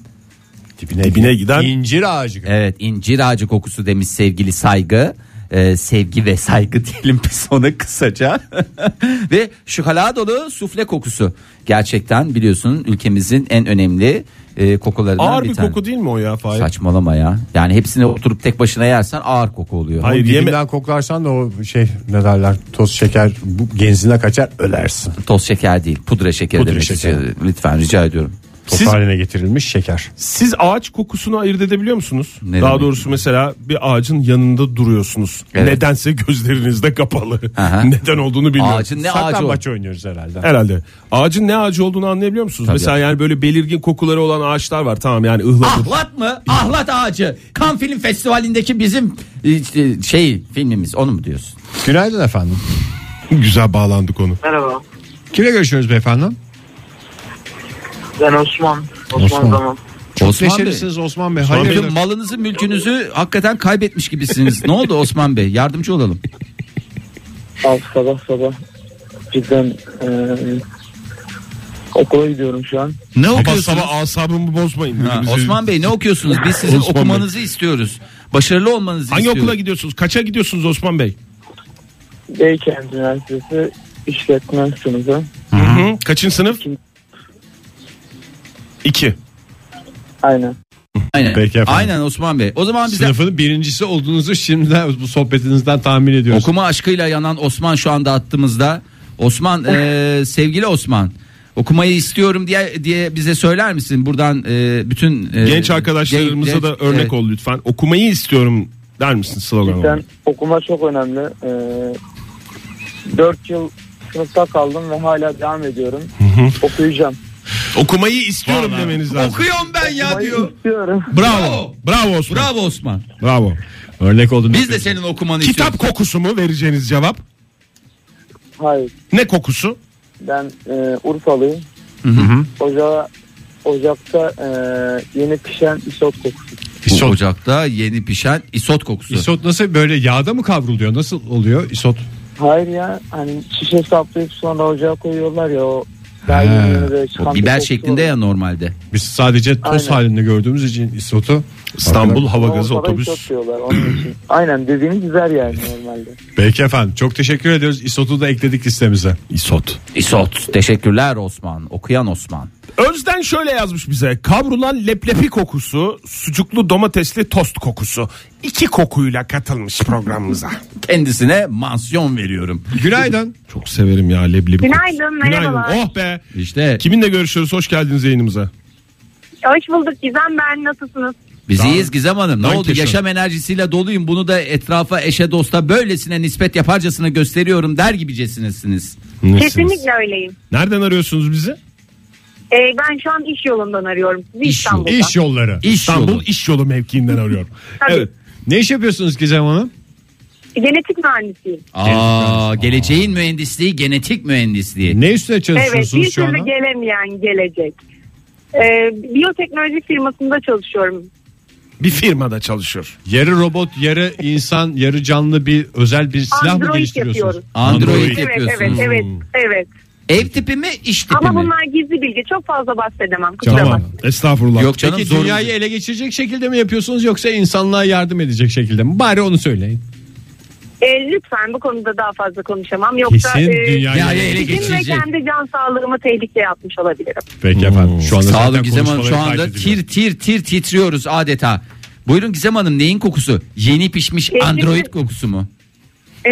[SPEAKER 3] Dibine,
[SPEAKER 8] Dibine giden- E,
[SPEAKER 3] incir ağacı.
[SPEAKER 2] evet incir ağacı kokusu demiş sevgili saygı. Ee, sevgi ve saygı <laughs> diyelim biz ona kısaca. <laughs> ve şokoladolu sufle kokusu. Gerçekten biliyorsun ülkemizin en önemli e, kokularından
[SPEAKER 8] Ağır
[SPEAKER 2] bir,
[SPEAKER 8] bir
[SPEAKER 2] tane.
[SPEAKER 8] koku değil mi o ya Fahir?
[SPEAKER 2] Saçmalama ya. Yani hepsini oturup tek başına yersen ağır koku oluyor.
[SPEAKER 8] Hayır,
[SPEAKER 3] Dibinden
[SPEAKER 8] yeme-
[SPEAKER 3] koklarsan da o şey ne derler toz şeker bu genzine kaçar ölersin.
[SPEAKER 2] Toz şeker değil, pudra şekeri
[SPEAKER 3] Pudra
[SPEAKER 2] demek
[SPEAKER 3] şekeri.
[SPEAKER 2] istiyorum. Lütfen rica ediyorum.
[SPEAKER 3] Top
[SPEAKER 8] Siz-
[SPEAKER 3] haline getirilmiş şeker.
[SPEAKER 8] Siz ağaç kokusunu ayırt edebiliyor musunuz?
[SPEAKER 2] Ne
[SPEAKER 8] Daha
[SPEAKER 2] demek?
[SPEAKER 8] doğrusu mesela bir ağacın yanında duruyorsunuz.
[SPEAKER 2] Evet.
[SPEAKER 8] Nedense gözleriniz de kapalı.
[SPEAKER 2] Aha.
[SPEAKER 8] <laughs> Neden olduğunu bilmiyorum.
[SPEAKER 2] Ağacın ne ağacı o?
[SPEAKER 3] Saklambaç oynuyoruz herhalde.
[SPEAKER 8] Herhalde. Ağacın ne ağacı olduğunu anlayabiliyor musunuz? mesela yani böyle belirgin kokuları olan ağaçlar var. Tamam yani ıhlamur.
[SPEAKER 2] Ahlat mı? Ahlat ağacı. Kan Film Festivali'ndeki bizim e, şey filmimiz onu mu diyorsun?
[SPEAKER 3] Günaydın efendim.
[SPEAKER 8] <laughs> Güzel bağlandı konu.
[SPEAKER 7] Merhaba.
[SPEAKER 3] Kimle görüşüyoruz beyefendi?
[SPEAKER 7] Ben Osman. Osman,
[SPEAKER 3] Osman.
[SPEAKER 7] Zaman.
[SPEAKER 2] Osman Bey.
[SPEAKER 3] Neşelisiniz Osman Bey.
[SPEAKER 2] Bütün
[SPEAKER 3] Hayırdır?
[SPEAKER 2] malınızı mülkünüzü hakikaten kaybetmiş gibisiniz. ne oldu Osman Bey? Yardımcı olalım.
[SPEAKER 7] Abi sabah sabah cidden
[SPEAKER 5] e,
[SPEAKER 7] eee, okula gidiyorum şu an.
[SPEAKER 2] Ne
[SPEAKER 8] Sabah
[SPEAKER 2] okuyorsunuz?
[SPEAKER 8] sabah asabımı bozmayın.
[SPEAKER 2] Ha,
[SPEAKER 8] Bizi-
[SPEAKER 2] Osman Bey ne okuyorsunuz? Biz sizin
[SPEAKER 8] Osman Bey.
[SPEAKER 2] okumanızı istiyoruz. Başarılı olmanızı
[SPEAKER 8] Hangi
[SPEAKER 2] istiyoruz.
[SPEAKER 8] okula gidiyorsunuz? Kaça gidiyorsunuz Osman Bey?
[SPEAKER 7] Beykent Üniversitesi işletme sınıfı.
[SPEAKER 8] Hı-hı. Kaçın sınıf?
[SPEAKER 7] İki.
[SPEAKER 8] İki.
[SPEAKER 7] Aynen.
[SPEAKER 2] Aynen.
[SPEAKER 3] Peki efendim.
[SPEAKER 2] Aynen Osman Bey. O zaman bize
[SPEAKER 3] Sınıfın birincisi olduğunuzu şimdiden bu sohbetinizden tahmin ediyoruz.
[SPEAKER 2] Okuma aşkıyla yanan Osman şu anda attığımızda. Osman
[SPEAKER 3] Oh.
[SPEAKER 2] eee, sevgili Osman okumayı istiyorum diye diye bize söyler misin? Buradan eee, bütün eee,
[SPEAKER 8] Genç arkadaşlarımıza
[SPEAKER 2] Ee, genç-
[SPEAKER 8] da örnek
[SPEAKER 2] evet.
[SPEAKER 8] ol lütfen. Okumayı istiyorum der misin slogan olarak?
[SPEAKER 7] Cidden okuma çok önemli. Eee 4 yıl
[SPEAKER 5] E, sınıfta kaldım ve hala devam ediyorum. Okuyacağım.
[SPEAKER 10] Okumayı istiyorum demeniz lazım.
[SPEAKER 2] Okuyorum ben ya diyor.
[SPEAKER 5] İstiyorum.
[SPEAKER 10] Bravo. Bravo Osman. Bravo.
[SPEAKER 2] Bravo Osman.
[SPEAKER 8] Örnek oldum.
[SPEAKER 2] Biz de senin okumanı
[SPEAKER 10] Kitap
[SPEAKER 2] istiyoruz.
[SPEAKER 10] kokusu mu vereceğiniz cevap?
[SPEAKER 5] Hayır.
[SPEAKER 10] Ne kokusu?
[SPEAKER 5] Ben e, Urfalıyım. Ocağa, ocakta e, yeni pişen isot kokusu.
[SPEAKER 2] Bu Ocakta yeni pişen isot kokusu.
[SPEAKER 3] İsot nasıl böyle yağda mı kavruluyor? Nasıl oluyor isot?
[SPEAKER 5] Hayır ya hani şişe saplayıp sonra ocağa koyuyorlar ya o daha yeni yeni böyle çıkan
[SPEAKER 2] O
[SPEAKER 5] bir
[SPEAKER 2] biber
[SPEAKER 5] kokusu
[SPEAKER 2] şeklinde
[SPEAKER 5] var.
[SPEAKER 2] ya normalde.
[SPEAKER 3] Biz sadece toz
[SPEAKER 5] Aynen.
[SPEAKER 3] halinde gördüğümüz için isotu
[SPEAKER 8] İstanbul hava
[SPEAKER 5] Ama
[SPEAKER 8] gazı
[SPEAKER 5] orada
[SPEAKER 8] otobüs.
[SPEAKER 5] isot diyorlar onun için. Aynen dediğiniz güzel yani normalde.
[SPEAKER 3] Peki efendim çok teşekkür ediyoruz. Isotu da ekledik listemize.
[SPEAKER 8] İsot.
[SPEAKER 2] Isot. Teşekkürler Osman. Okuyan Osman.
[SPEAKER 8] Özden şöyle yazmış bize. Kavrulan leblebi kokusu, sucuklu domatesli tost kokusu. İki kokuyla katılmış programımıza.
[SPEAKER 2] <laughs> Kendisine mansiyon veriyorum.
[SPEAKER 3] Günaydın.
[SPEAKER 8] Çok severim ya leblebi
[SPEAKER 7] Günaydın, merhabalar.
[SPEAKER 8] Günaydın. Oh be.
[SPEAKER 2] İşte
[SPEAKER 8] Kiminle görüşüyoruz? Hoş geldiniz yayınımıza.
[SPEAKER 7] Hoş bulduk Gizem ben nasılsınız?
[SPEAKER 2] biz iyiyiz Gizem Hanım. Ne
[SPEAKER 8] Dank
[SPEAKER 2] oldu?
[SPEAKER 8] yaşa.
[SPEAKER 2] Yaşam enerjisiyle doluyum. Bunu da etrafa, eşe, dosta böylesine nispet yaparcasına gösteriyorum der gibicesinizsiniz.
[SPEAKER 8] Nasılsınız?
[SPEAKER 7] Kesinlikle öyleyim.
[SPEAKER 8] Nereden arıyorsunuz bizi?
[SPEAKER 7] Ee, ben şu an iş yolundan arıyorum sizi İstanbul'da.
[SPEAKER 3] İş yolları.
[SPEAKER 2] İş
[SPEAKER 8] İstanbul
[SPEAKER 2] yolu.
[SPEAKER 8] İş Yolu mevkiinden arıyorum.
[SPEAKER 7] <laughs> Tabii.
[SPEAKER 8] evet.
[SPEAKER 3] Ne iş yapıyorsunuz Gizem Hanım?
[SPEAKER 7] Genetik mühendisiyim.
[SPEAKER 2] Aa, geleceğin mühendisliği, genetik mühendisliği.
[SPEAKER 3] Ne üstüne
[SPEAKER 7] Evet
[SPEAKER 3] çalışıyorsunuz şu
[SPEAKER 7] bir türlü
[SPEAKER 3] anda?
[SPEAKER 7] gelemeyen gelecek. Ee, biyoteknoloji firmasında çalışıyorum.
[SPEAKER 8] Bir firmada çalışıyor.
[SPEAKER 3] Yarı robot, yarı insan, yarı canlı bir özel bir silah mı
[SPEAKER 7] Android
[SPEAKER 3] geliştiriyorsunuz?
[SPEAKER 7] yapıyoruz.
[SPEAKER 2] Android,
[SPEAKER 8] Android.
[SPEAKER 7] Evet
[SPEAKER 2] yapıyorsunuz.
[SPEAKER 7] evet evet evet.
[SPEAKER 2] Ev tipi mi, iş tipi
[SPEAKER 7] Ama
[SPEAKER 2] mi?
[SPEAKER 7] bunlar gizli bilgi çok fazla bahsedemem. Kusura
[SPEAKER 8] Tamam.
[SPEAKER 7] bakma.
[SPEAKER 8] Estağfurullah.
[SPEAKER 2] Yok canım
[SPEAKER 3] Peki
[SPEAKER 2] zorunlu-
[SPEAKER 3] dünyayı ele geçirecek şekilde mi yapıyorsunuz yoksa insanlığa yardım edecek şekilde mi? Bari onu söyleyin.
[SPEAKER 7] Ee, lütfen bu konuda daha fazla konuşamam. Yoksa
[SPEAKER 3] Kesin
[SPEAKER 7] e,
[SPEAKER 3] dünyayı
[SPEAKER 2] Dünyayı ele
[SPEAKER 7] sizin ve
[SPEAKER 2] geçirecek.
[SPEAKER 7] kendi can sağlığımı tehlikeye atmış olabilirim.
[SPEAKER 3] Peki efendim. Şu anda
[SPEAKER 2] Sağ
[SPEAKER 3] zaten
[SPEAKER 2] olun Gizem Hanım şu
[SPEAKER 3] konuşmaları
[SPEAKER 2] anda
[SPEAKER 3] kaydediliyor.
[SPEAKER 2] tir tir tir titriyoruz adeta. Buyurun Gizem Hanım neyin kokusu? Yeni pişmiş
[SPEAKER 7] Ee,
[SPEAKER 2] Android
[SPEAKER 7] bizim-
[SPEAKER 2] kokusu mu?
[SPEAKER 7] <laughs>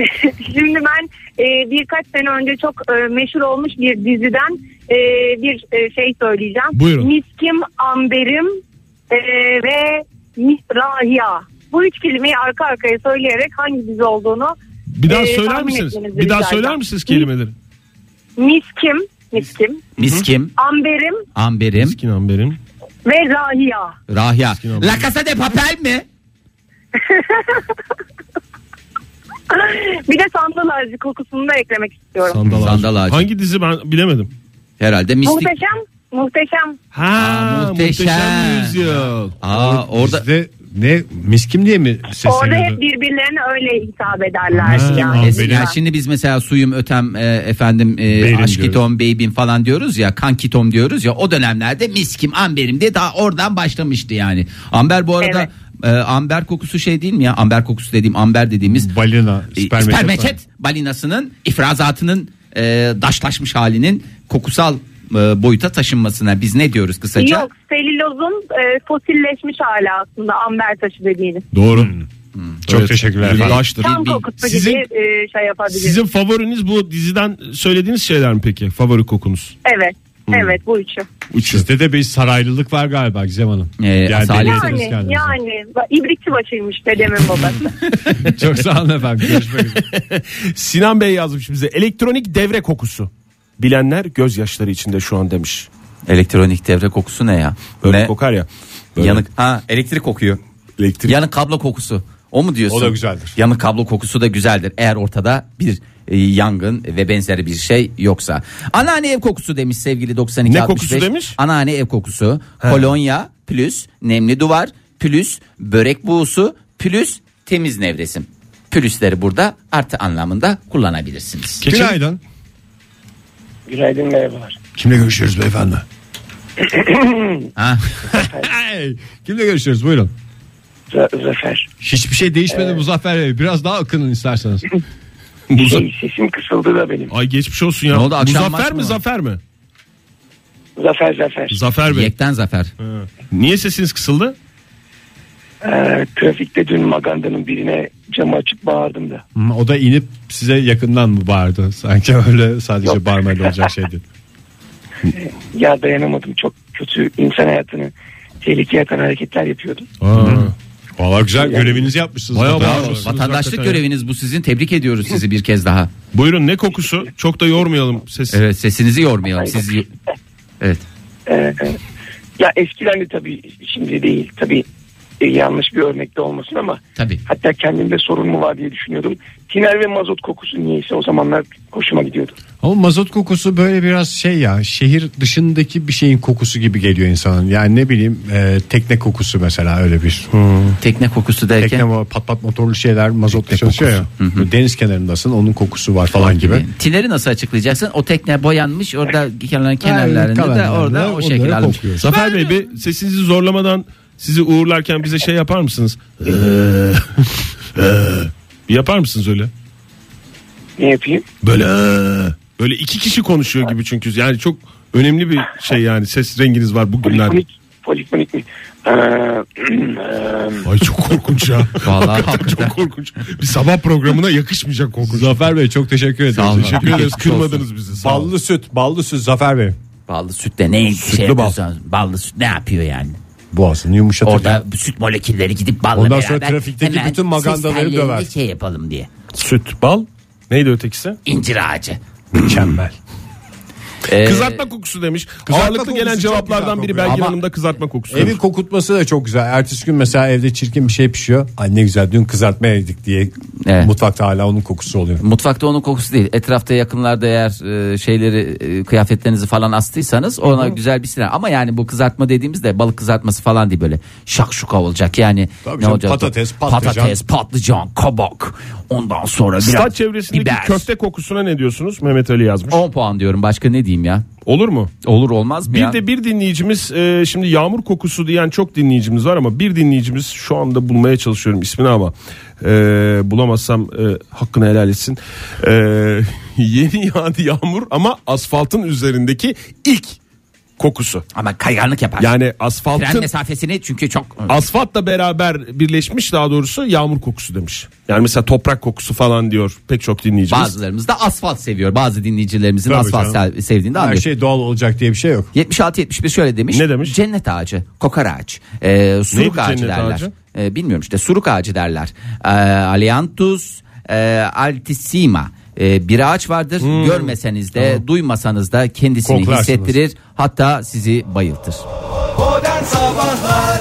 [SPEAKER 7] Şimdi ben e, birkaç sene önce çok e, meşhur olmuş bir diziden e, bir e, şey söyleyeceğim.
[SPEAKER 3] Buyurun.
[SPEAKER 7] Miskim, amberim e, ve misrahiya. Bu üç kelimeyi arka arkaya söyleyerek hangi dizi olduğunu
[SPEAKER 8] Bir daha
[SPEAKER 7] e,
[SPEAKER 8] söyler
[SPEAKER 7] tahmin
[SPEAKER 8] misiniz?
[SPEAKER 7] etmenizi
[SPEAKER 8] Bir daha
[SPEAKER 7] rica
[SPEAKER 8] söyler
[SPEAKER 7] edeceğim.
[SPEAKER 8] misiniz kelimeleri?
[SPEAKER 7] Miskim, miskim,
[SPEAKER 2] Miskim,
[SPEAKER 7] amberim
[SPEAKER 2] amberim,
[SPEAKER 8] Miskin amberim.
[SPEAKER 7] ve rahiya.
[SPEAKER 2] rahya.
[SPEAKER 8] amberim.
[SPEAKER 2] La Casa de Papel mi?
[SPEAKER 7] <laughs> bir de sandal ağacı kokusunu da eklemek istiyorum.
[SPEAKER 8] Sandal, ağacı.
[SPEAKER 2] Sandal ağacı.
[SPEAKER 8] Hangi dizi ben bilemedim.
[SPEAKER 2] Herhalde mistik.
[SPEAKER 7] Muhteşem, muhteşem.
[SPEAKER 8] Ha,
[SPEAKER 2] Aa, muhteşem.
[SPEAKER 8] muhteşem yüzyıl.
[SPEAKER 2] Aa orada
[SPEAKER 3] Bizde ne miskim diye mi
[SPEAKER 7] Orada hep
[SPEAKER 3] sesleniyordu?
[SPEAKER 7] birbirlerine öyle hitap ederler.
[SPEAKER 3] Ha,
[SPEAKER 7] yani.
[SPEAKER 3] amberim.
[SPEAKER 2] Eskiden şimdi biz mesela suyum ötem e, efendim e,
[SPEAKER 3] Beyrim
[SPEAKER 2] aşkitom beybim falan diyoruz ya kankitom diyoruz ya o dönemlerde miskim amberim diye daha oradan başlamıştı yani. Amber bu arada e, amber kokusu şey değil mi ya amber kokusu dediğim amber dediğimiz
[SPEAKER 3] Balina,
[SPEAKER 2] e,
[SPEAKER 3] spermeçet.
[SPEAKER 2] ispermeçet balinasının ifrazatının e, daşlaşmış halinin kokusal e, boyuta taşınmasına biz ne diyoruz kısaca?
[SPEAKER 7] Yok selülozun e, fosilleşmiş hali aslında amber taşı dediğiniz.
[SPEAKER 8] Doğru. Hmm.
[SPEAKER 3] Çok teşekkürler
[SPEAKER 2] Bir-
[SPEAKER 3] efendim.
[SPEAKER 8] Taştır.
[SPEAKER 7] Tam
[SPEAKER 2] bir-
[SPEAKER 7] kokusu
[SPEAKER 8] sizin-
[SPEAKER 7] gibi e, şey yapabiliriz.
[SPEAKER 8] Sizin favoriniz bu diziden söylediğiniz şeyler mi peki? Favori kokunuz?
[SPEAKER 7] Evet. Evet bu üçü.
[SPEAKER 3] Sizde de bir saraylılık var galiba Gizem
[SPEAKER 8] <laughs>
[SPEAKER 3] Hanım.
[SPEAKER 2] Ee,
[SPEAKER 3] yani
[SPEAKER 2] asalet.
[SPEAKER 3] belirtiniz
[SPEAKER 7] Yani
[SPEAKER 3] kendinizi.
[SPEAKER 7] yani ibrikçi başıymış dedemin babası.
[SPEAKER 3] Çok sağ olun efendim. Görüşmek üzere.
[SPEAKER 8] Sinan Bey yazmış bize. Elektronik devre kokusu. Bilenler gözyaşları içinde şu an demiş.
[SPEAKER 2] Elektronik devre kokusu ne ya?
[SPEAKER 8] Böyle
[SPEAKER 2] ne?
[SPEAKER 8] kokar ya. Böyle
[SPEAKER 2] Yanık. Ha elektrik kokuyor.
[SPEAKER 8] elektrik.
[SPEAKER 2] Yanık kablo kokusu. O mu diyorsun?
[SPEAKER 3] O da güzeldir.
[SPEAKER 2] Yanık kablo kokusu da güzeldir. Eğer ortada bir e, yangın ve benzeri bir şey yoksa. Anneanne ev kokusu demiş sevgili 92
[SPEAKER 8] Ne
[SPEAKER 2] 65.
[SPEAKER 8] kokusu demiş?
[SPEAKER 2] Anneanne ev kokusu. Kolonya plus nemli duvar plus börek buğusu plus temiz nevresim. Pülüsleri burada artı anlamında kullanabilirsiniz.
[SPEAKER 3] Günaydın.
[SPEAKER 5] Günaydın merhabalar.
[SPEAKER 3] Kimle görüşüyoruz beyefendi?
[SPEAKER 2] Ha.
[SPEAKER 3] Kimle görüşüyoruz buyurun.
[SPEAKER 5] Zafer.
[SPEAKER 3] Hiçbir şey değişmedi Muzaffer Bey. Biraz daha akının isterseniz.
[SPEAKER 5] Şey, sesim kısıldı da benim.
[SPEAKER 8] Ay geçmiş olsun ya.
[SPEAKER 2] Ne oldu, akşam
[SPEAKER 8] Muzaffer
[SPEAKER 2] maç mı
[SPEAKER 8] mi
[SPEAKER 2] var?
[SPEAKER 8] Zafer mi?
[SPEAKER 5] Zafer Zafer.
[SPEAKER 8] Zafer Bey.
[SPEAKER 2] Yekten zafer.
[SPEAKER 8] Niye sesiniz kısıldı?
[SPEAKER 5] Ee, trafikte dün Maganda'nın birine camı açıp bağırdım da.
[SPEAKER 3] Hmm, o da inip size yakından mı bağırdı? <laughs> Sanki öyle sadece
[SPEAKER 5] Yok.
[SPEAKER 3] bağırmayla olacak şey <laughs> değil.
[SPEAKER 5] Ya dayanamadım çok kötü insan hayatını tehlikeye atan hareketler yapıyordum.
[SPEAKER 8] Valla güzel görevinizi yapmışsınız. Bayağı
[SPEAKER 2] Bravo. Vatandaşlık göreviniz bu sizin. Tebrik ediyoruz sizi bir kez daha.
[SPEAKER 8] Buyurun ne kokusu? Çok da yormayalım sesi.
[SPEAKER 2] Evet sesinizi yormayalım. Sizi... Evet.
[SPEAKER 11] Ee, ya eskiden de tabii şimdi değil tabii e, yanlış bir örnekte olmasın ama
[SPEAKER 2] Tabii.
[SPEAKER 11] hatta kendimde sorun mu var diye düşünüyordum. Tiner ve mazot kokusu niyeyse o zamanlar hoşuma gidiyordu.
[SPEAKER 3] Ama mazot kokusu böyle biraz şey ya şehir dışındaki bir şeyin kokusu gibi geliyor insanın. Yani ne bileyim e, tekne kokusu mesela öyle bir.
[SPEAKER 2] Tekne kokusu
[SPEAKER 3] Tekne
[SPEAKER 2] derken.
[SPEAKER 3] mo- pat pat motorlu şeyler mazotla çalışıyor ya. Deniz kenarındasın onun kokusu var falan gibi.
[SPEAKER 2] Tineri nasıl açıklayacaksın? O tekne boyanmış orada kenarların kenarlarında da
[SPEAKER 3] kalanlarda
[SPEAKER 2] orada o
[SPEAKER 3] onları
[SPEAKER 2] şekil almış.
[SPEAKER 3] kokuyor.
[SPEAKER 8] Zafer Bey bir sesinizi zorlamadan sizi uğurlarken bize şey yapar mısınız? Ee, Bir yapar mısınız öyle?
[SPEAKER 11] Ne yapayım?
[SPEAKER 8] Böyle ee. böyle iki kişi konuşuyor gibi çünkü yani çok önemli bir şey yani ses renginiz var bugünlerde.
[SPEAKER 11] Polifonik, polifonik mi? Ee,
[SPEAKER 8] Ay çok korkunç ya.
[SPEAKER 2] Vallahi
[SPEAKER 3] <laughs>
[SPEAKER 8] Hakikaten
[SPEAKER 2] hakikaten.
[SPEAKER 8] çok korkunç. Bir sabah programına yakışmayacak korkunç.
[SPEAKER 3] Zafer Bey çok teşekkür ederiz.
[SPEAKER 2] Sağ olun.
[SPEAKER 3] Teşekkür-
[SPEAKER 8] Teşekkür ederiz
[SPEAKER 2] Geçmiş
[SPEAKER 8] kırmadınız bizi. Sağ olun.
[SPEAKER 3] Ballı süt, ballı süt Zafer Bey.
[SPEAKER 2] Ballı sütte ne şey
[SPEAKER 3] bal.
[SPEAKER 2] yapıyorsanız, Ballı süt ne yapıyor yani?
[SPEAKER 3] Boğazını yumuşatır.
[SPEAKER 8] <clears throat>
[SPEAKER 2] Orada süt molekülleri gidip balla
[SPEAKER 3] Ondan
[SPEAKER 2] beraber
[SPEAKER 3] sonra trafikteki
[SPEAKER 2] hemen
[SPEAKER 3] bütün magandaları
[SPEAKER 2] ses tellerinde
[SPEAKER 3] döver.
[SPEAKER 2] şey yapalım diye.
[SPEAKER 8] Süt, bal. Neydi ötekisi?
[SPEAKER 2] İncir ağacı.
[SPEAKER 3] mükemmel.
[SPEAKER 2] Ee,
[SPEAKER 8] Kızartma kokusu demiş.
[SPEAKER 3] Kızartma
[SPEAKER 8] Ağırlıklı
[SPEAKER 3] kokusu
[SPEAKER 8] gelen
[SPEAKER 3] çok
[SPEAKER 8] cevaplardan
[SPEAKER 3] güzel
[SPEAKER 8] biri
[SPEAKER 3] kokuyor.
[SPEAKER 8] Belgin
[SPEAKER 3] Ama-
[SPEAKER 8] Hanım'da kızartma kokusu.
[SPEAKER 3] Evin kokutması da çok güzel. Ertesi gün mesela evde çirkin bir şey pişiyor. Ay ne güzel dün kızartma yedik diye
[SPEAKER 2] Evet.
[SPEAKER 3] mutfakta hala onun kokusu oluyor.
[SPEAKER 2] Mutfakta onun kokusu değil. Etrafta yakınlarda eğer e, şeyleri e, kıyafetlerinizi falan astıysanız ona güzel bir silah. Ama yani bu kızartma dediğimiz de balık kızartması falan değil böyle şakşuka olacak. Yani
[SPEAKER 3] Tabii
[SPEAKER 2] ne
[SPEAKER 3] canım,
[SPEAKER 2] olacak?
[SPEAKER 3] patates, patlıcan.
[SPEAKER 2] Patates, patlıcan, kabak. Ondan sonra biraz
[SPEAKER 8] Stad çevresindeki
[SPEAKER 2] biber.
[SPEAKER 8] köfte kokusuna ne diyorsunuz? Mehmet Ali yazmış.
[SPEAKER 2] 10 puan diyorum. Başka ne diyeyim ya?
[SPEAKER 8] Olur mu?
[SPEAKER 2] Olur olmaz mı
[SPEAKER 8] Bir
[SPEAKER 2] ya?
[SPEAKER 8] de bir dinleyicimiz e, şimdi yağmur kokusu diyen çok dinleyicimiz var ama bir dinleyicimiz şu anda bulmaya çalışıyorum ismini ama e, bulamazsam e, hakkını helal etsin. E, <laughs> yeni yağdı yağmur ama asfaltın üzerindeki ilk kokusu.
[SPEAKER 2] Ama kayganlık yapar.
[SPEAKER 8] Yani
[SPEAKER 2] Tren
[SPEAKER 8] asfaltın
[SPEAKER 2] mesafesini çünkü çok
[SPEAKER 8] asfaltla beraber birleşmiş daha doğrusu yağmur kokusu demiş. Yani mesela toprak kokusu falan diyor pek çok dinleyicimiz.
[SPEAKER 2] bazılarımız da asfalt seviyor. Bazı dinleyicilerimizin
[SPEAKER 3] Tabii
[SPEAKER 2] asfalt
[SPEAKER 3] canım.
[SPEAKER 2] se- sevdiğini de
[SPEAKER 3] Her
[SPEAKER 2] anlıyoruz.
[SPEAKER 3] şey doğal olacak diye bir şey yok.
[SPEAKER 2] 76-71 şöyle demiş.
[SPEAKER 8] Ne demiş?
[SPEAKER 2] Cennet ağacı, kokar ağaç, e, suruk
[SPEAKER 8] Neydi
[SPEAKER 2] ağacı
[SPEAKER 8] cennet
[SPEAKER 2] derler.
[SPEAKER 8] ağacı?
[SPEAKER 2] E, bilmiyorum işte suruk ağacı derler. E, Aliantus e, altissima. E, bir ağaç vardır
[SPEAKER 8] Hmm.
[SPEAKER 2] görmeseniz de duymasanız da kendisini
[SPEAKER 3] Koklarsınız.
[SPEAKER 2] hissettirir. Hatta sizi bayıltır.
[SPEAKER 1] Modern Sabahlar